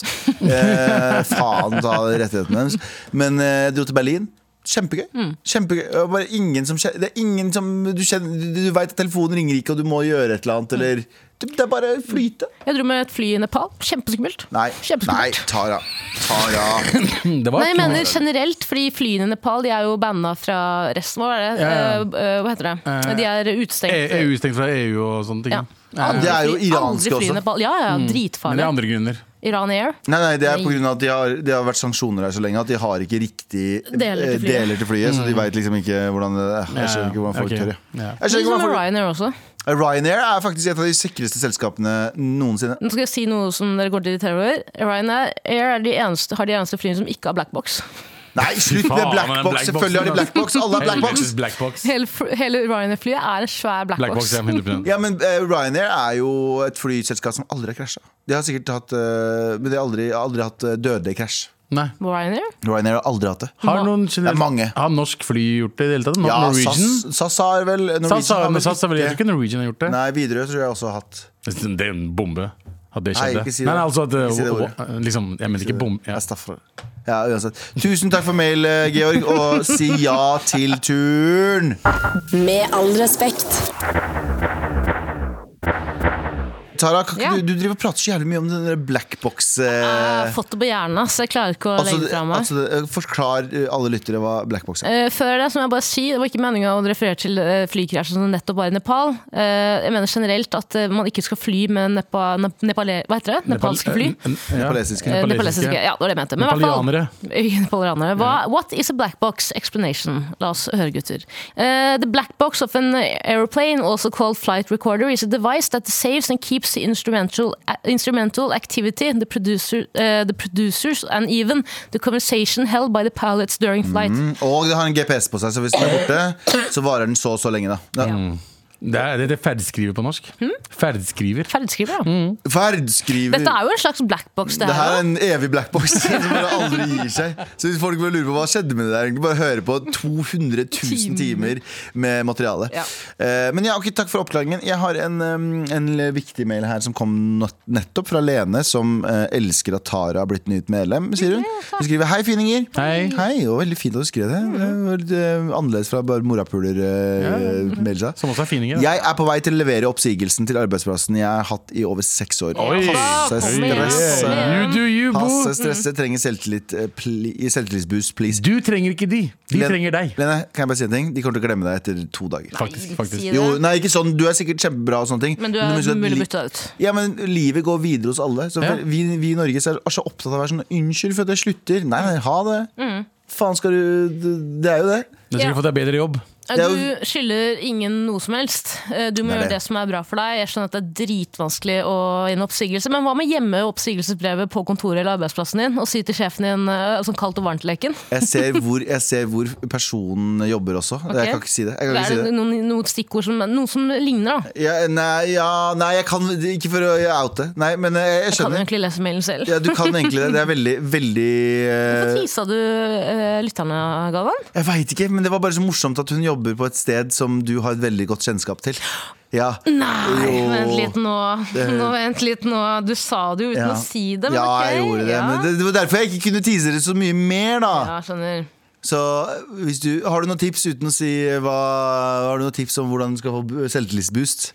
Eh, faen ta rettighetene deres. Men eh, jeg dro til Berlin. Kjempegøy.
Mm.
Kjempegøy. Det var Bare ingen som kjen- Det er ingen som Du, kjenner, du du vet at telefonen ringer ikke, og du må gjøre et eller annet,
Mm.
eller Det det er bare flyte.
Jeg dro med et fly i Nepal. Kjempeskummelt.
Nei, nei
Kjempeskummelt.
Tara. Tara.
Det var
Nei, jeg
ikke noe-
mener generelt, fordi flyene i Nepal de er jo banna fra resten av det.
Ja,
Eh, eh, hva heter det?
Eh,
de er
E-
utestengt.
EU stengt fra EU og sånne ting.
Ja.
Eh,
Det er jo
Aldri fly-
iranske
aldri fly i
også.
Nepal. Ja, ja,
Mm. Men det
dritfarlig.
er andre grunner.
Iran Air.
Nei, nei, det er pga. at de har, det har vært sanksjoner her så lenge at de har ikke riktig
Deler
eh,
til flyet.
deler til flyet. Så de veit liksom ikke hvordan det er. Jeg skjønner ikke hvordan folk
Mm. Ok.
tør. jeg.
Ja.
Jeg skjønner
Litt
ikke
som
hvordan
med
folk
Ryanair også.
Ryanair er faktisk et av de sikreste selskapene noensinne.
Nå skal jeg si noe som dere går til irritere over. Ryanair Air er de eneste, har de eneste flyene som ikke har blackbox.
Nei, slutt med
Faen, men
blackbox!
blackboxen,
Selvfølgelig har de
da.
blackbox! Alle har blackbox!
Helvetes Blackbox.
Hele, fr- hele Ryanair-flyet er en svær
Blackbox,
blackbox.
ja, 100%.
Ja, men eh, Ryanair er jo et flyselskap som aldri har krasja. De har sikkert hatt eh, Men de har aldri, aldri hatt eh, dødelig krasj.
Nei.
Ryanair?
Ryanair har aldri hatt det.
Har noen
Det er
generelt
mange.
Har norsk fly gjort det i det hele tatt? Nor-
Ja,
Norwegian?
SAS, SAS har vel
SAS,
Norwegian
har-
har
men SAS har vel jeg tror
ikke
ikke Norwegian har gjort det.
Nei, Widerøe tror jeg også har hatt.
Det er en bombe. At det
Nei,
skjedde.
ikke si det.
Nei, nei, altså at,
Ikke si det
uh,
ordet.
uh, liksom, Jeg mener ikke bom... Ja.
Jeg straffer deg. Ja, uansett. Tusen takk for mail, eh, Georg, og si ja til turen!
Med all respekt.
Tara, kan ikke
Ja.
du, du driver og prater så jævlig mye om den der blackbox eh,
Jeg har fått det på hjernen, ass. Ah, jeg klarer ikke å
altså,
legge det fra meg.
altså, eh, Forklar eh, alle lyttere hva blackbox er.
Eh, før det så må jeg bare si, det var ikke meninga å referere til eh, flykrasjen som nettopp var i Nepal. Eh, jeg mener generelt at eh, man ikke skal fly med nepa, nep- nepale, hva heter det? nepalske fly.
Nepal- eh, ja.
Nepalesiske.
Eh, nepalesiske, Ja, det var det jeg mente. Men i hvert fall-
Nepalianere.
Nepalianere. Hva, what is a black box explanation? La oss høre, gutter. Eh, the black box of an aeroplane, also called flight recorder, is a device that saves and keeps the instrumental, uh, instrumental activity, the, producer, eh, the producers, and even the conversation held by the pilots during flight.
Mm.
Og det har en GPS på seg, så hvis den er borte, så varer den så og så lenge. da ja.
Det er det er ferdskriver på norsk. Ferdskriver.
Ferdigskriver, ja.
Ferdskriver.
Dette er jo en slags blackbox, det
Det her er
her.
en evig blackbox som bare aldri gir seg. Så hvis folk bare lurer på hva skjedde med det der, egentlig bare høre på 200 000 timer med materiale.
Ja.
Eh, men ja, ok, takk for oppklaringen. Jeg har en, um, en l- viktig mail her som kom not- nettopp fra Lene, som eh, elsker at Tara har blitt nytt medlem, sier hun. Hun skriver 'Hei, fininger'.
Hei.
Hei, og Veldig fint at du skrev det. det
Mhm.
var litt, eh, annerledes fra bare morapuler-meldelser.
Som også er fininger.
Jeg er på vei til å levere oppsigelsen til arbeidsplassen jeg har hatt i over seks år.
Oi.
Passe
Kom igjen,
stress.
kom igjen.
You do you,
Passe
bo.
stresset, trenger selvtillit eh, pli- Selvtillitsboost, please
Mm. Du trenger ikke de. De
Len-
trenger deg.
Lene, kan jeg bare si en ting? De kommer til å glemme deg etter to dager
Faktisk. faktisk.
Si det.
Jo, nei, ikke sånn, du er sikkert kjempebra og sånne ting
Men du
må
er
huske at
mulig
li-
å bytte deg ut.
ja, men livet går videre hos alle Så
Ja.
for- vi, vi i Norge så er er så opptatt av å være sånn Unnskyld for at jeg slutter Nei, nei, ha det
Mm.
Faen skal du, det- det er jo det
Du trenger fått deg bedre jobb.
Det er jo-
Du skylder ingen noe som helst. Eh, Du må
Det er
gjøre
det.
det. som er bra for deg. Jeg skjønner at det er dritvanskelig å gi en oppsigelse, men hva med hjemme oppsigelsesbrevet på kontoret eller arbeidsplassen din, og si til sjefen din eh, sånn kaldt og varmt-leken?
jeg ser, hvor, jeg ser hvor personen jobber også Jeg kan ikke si det, jeg kan
Det
ikke si
er
det.
noen, noen stikkord som, noe som ligner, da.
Ja, nei, ja, nei, jeg kan Ikke for å oute. Nei, men eh, jeg
Kan jo
skjønner.
egentlig lese mailen selv.
Ja, du kan egentlig det. Det er veldig, veldig eh,
Hvorfor tisa du eh, lytterne, Galvan?
Jeg veit ikke, men det var bare så morsomt at hun jobber på et sted som du har et veldig godt kjennskap til. Ja.
Nei,
Jo.
vent litt nå. nå. Vent litt nå. Du sa det jo uten
Ja.
å si det, men
ja,
ok.
jeg gjorde det.
ja.
Men det, det var derfor jeg ikke kunne tease det så mye mer, da.
Ja, skjønner.
Så hvis du, har du noen tips uten å si hva Har du noen tips om hvordan du skal få bu- selvtillitsboost?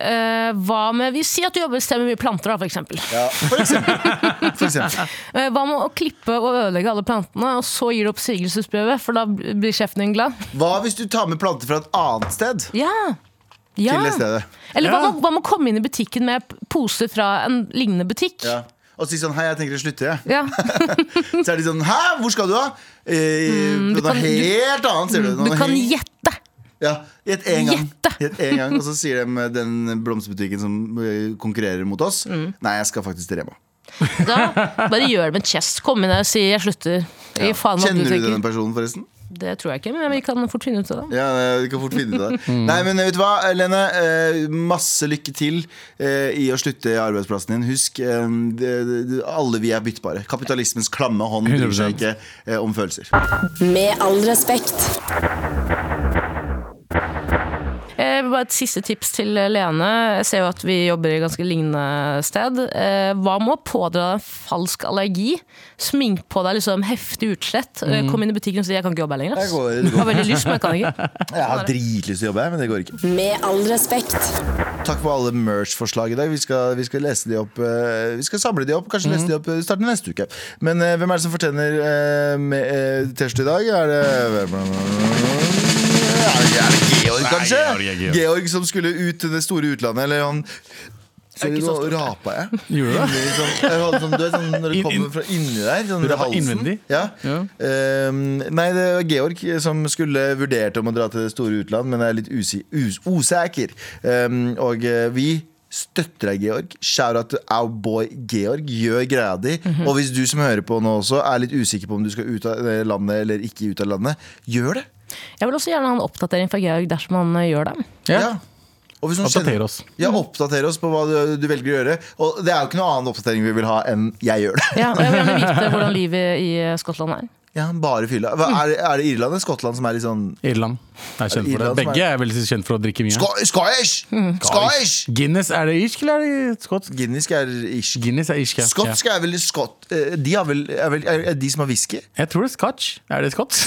Eh, hva med Vi sier at du jobber et sted med mye planter, da, for eksempel.
For eksempel. For eksempel.
Eh, hva med å klippe og ødelegge alle plantene, og så gir du oppsigelsesbrevet, for da blir sjefen din glad?
Hva hvis du tar med planter fra et annet sted
Ja. ja.
til det stedet?
Eller hva
Ja.
med, hva med å komme inn i butikken med p- poser fra en lignende butikk?
Ja. Og si sånn Hei, jeg tenker å slutte, jeg.
Ja.
Så er de sånn Hæ, hvor skal du da? Eh, på noe
kan- Mm, du-
helt annet, sier du.
Du
Noe
kan
helt-
gjette!
ja, Gjett én gang.
gjette.
Gjett én gang. Og så sier de eh, den blomsterbutikken som eh, konkurrerer mot oss,
Mm.
nei, jeg skal faktisk til Rema.
Da bare gjør det med chest. Kom inn der og si 'jeg slutter'. Gi faen hva du
Kjenner du
tenker.
denne personen, forresten?
Det tror jeg ikke, men vi kan fort finne ut av det.
Ja, eh, du kan fort finne det.
Mm.
Nei, men vet du hva, Lene. eh, Masse lykke til eh, i å slutte i arbeidsplassen din. Husk, eh, det- det- alle vi er byttbare. Kapitalismens klamme hånd bryr seg
100%.
ikke eh, om følelser.
Med all respekt.
Eh, bare et siste tips til Lene. Jeg ser jo at vi jobber i ganske lignende sted. Eh, hva med å pådra deg en falsk allergi? Smink på deg liksom heftig utslett. Eh, kom inn i butikken og si 'jeg kan ikke jobbe her lenger'.
Jeg,
ass.
går,
Jeg har veldig lyst, men jeg kan ikke.
jeg har dritlyst til å jobbe her, men det går ikke.
Med all respekt.
Takk for alle merch-forslag i dag. Vi skal, vi skal lese de opp eh, Vi skal samle de opp, kanskje lese de opp i starten av neste uke. Men eh, hvem er det som fortjener eh, med, eh, T-skjorte i dag? Er det Er det- er det Georg, kanskje?
Nei, Georg er Georg.
Georg som skulle ut til det store utlandet, eller han Sorry, nå rapa jeg.
Gjorde du det?
Inni Sånn, jeg hadde sånn, du vet, sånn, når det
Inn- inn-
kommer fra inni der. Sånn,
Du rappa
halsen.
innvendig?
Ja.
Ja.
Ehm, nei, det var Georg som skulle vurdert om å dra til det store utland, men er litt usi, us, usikker. Ehm, og eh, vi støtter deg, Georg. Shout-out til our boy Georg. Gjør greia di.
Mhm.
Og hvis du som hører på nå også er litt usikker på om du skal ut av eh, landet eller ikke ut av landet, gjør det.
Jeg vil også gjerne ha en oppdatering fra Georg dersom han eh, gjør det.
Ja.
Og hvis noen
Oppdater
kjenner-
oss. Mhm.
Ja, oppdater oss på hva du, du velger å gjøre. Og det er jo ikke noe annen oppdatering vi vil ha enn 'jeg gjør det'.
Ja, og jeg vil gjerne vite hvordan livet i eh, Skottland er.
Ja, bare fylla. Hva, er, det- er det Irland eller Skottland som er litt sånn
Irland. Jeg er kjent for det.
Irland som er-
Begge er veldig kjent for å drikke mye.
Sko- Scottish! Scottish!
Guinness, er det irsk eller er det skotsk?
Guinness er irsk.
Guinness er irsk, ja.
Skotsk er vel skott... eh, De har vel, er vel er, er de som har whisky?
Ja. Jeg tror det er scotch. Er det skotsk?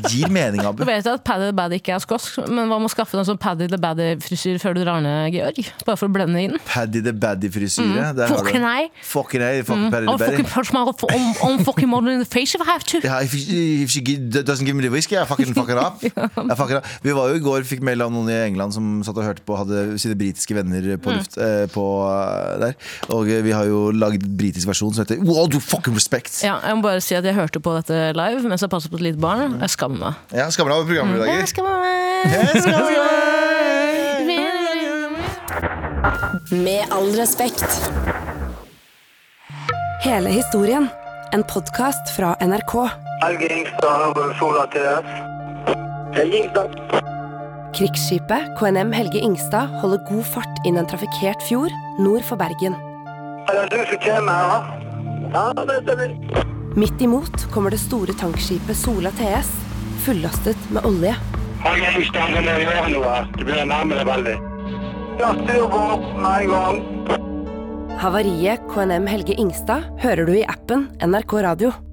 Det gir mening, Abu.
Du vet at Paddy the Baddy ikke er skotsk, men hva med å skaffe deg en sånn Paddy the Baddy-frisyr før du drar ned, Georg? Bare for å blende inn.
Paddy the Baddy-frisyre. Der har du-
Fucking ei.
Fucking ei, fucking Paddy
I'll
the Baddy.
fucking punch my own, own fucking mother in the face if I have to.
Ja, if, she- if she gi- doesn't give me the whiskey, I fucking fuck her up. Jeg fucker up. Vi var jo i går, fikk mail av noen i England som satt og hørte på, hadde sine britiske venner på luft eh, på, eh, der. Og eh, vi har jo lagd britisk versjon som heter Wow, du fucking respect!
Ja, jeg må bare si at jeg hørte på dette live mens jeg passet på et lite barn. Jeg skammer meg.
Ja, Skammer deg over
Jeg
programleder.
skammer meg.
Med all respekt.
Hele historien. En podkast fra NRK.
Helge Ingstad over sola til dørs. Helge Ingstad.
Krigsskipet KNM Helge Ingstad holder god fart inn en trafikkert fjord nord for Bergen.
Er det du som kommer her? da? Ja, det stemmer.
Midt imot kommer det store tankskipet Sola TS, fullastet med olje.
Helge Ingstad, det er jo noe. Du begynner å nærme deg veldig. Ja, styr på med en gang.
Havariet KNM Helge Ingstad hører du i appen NRK Radio.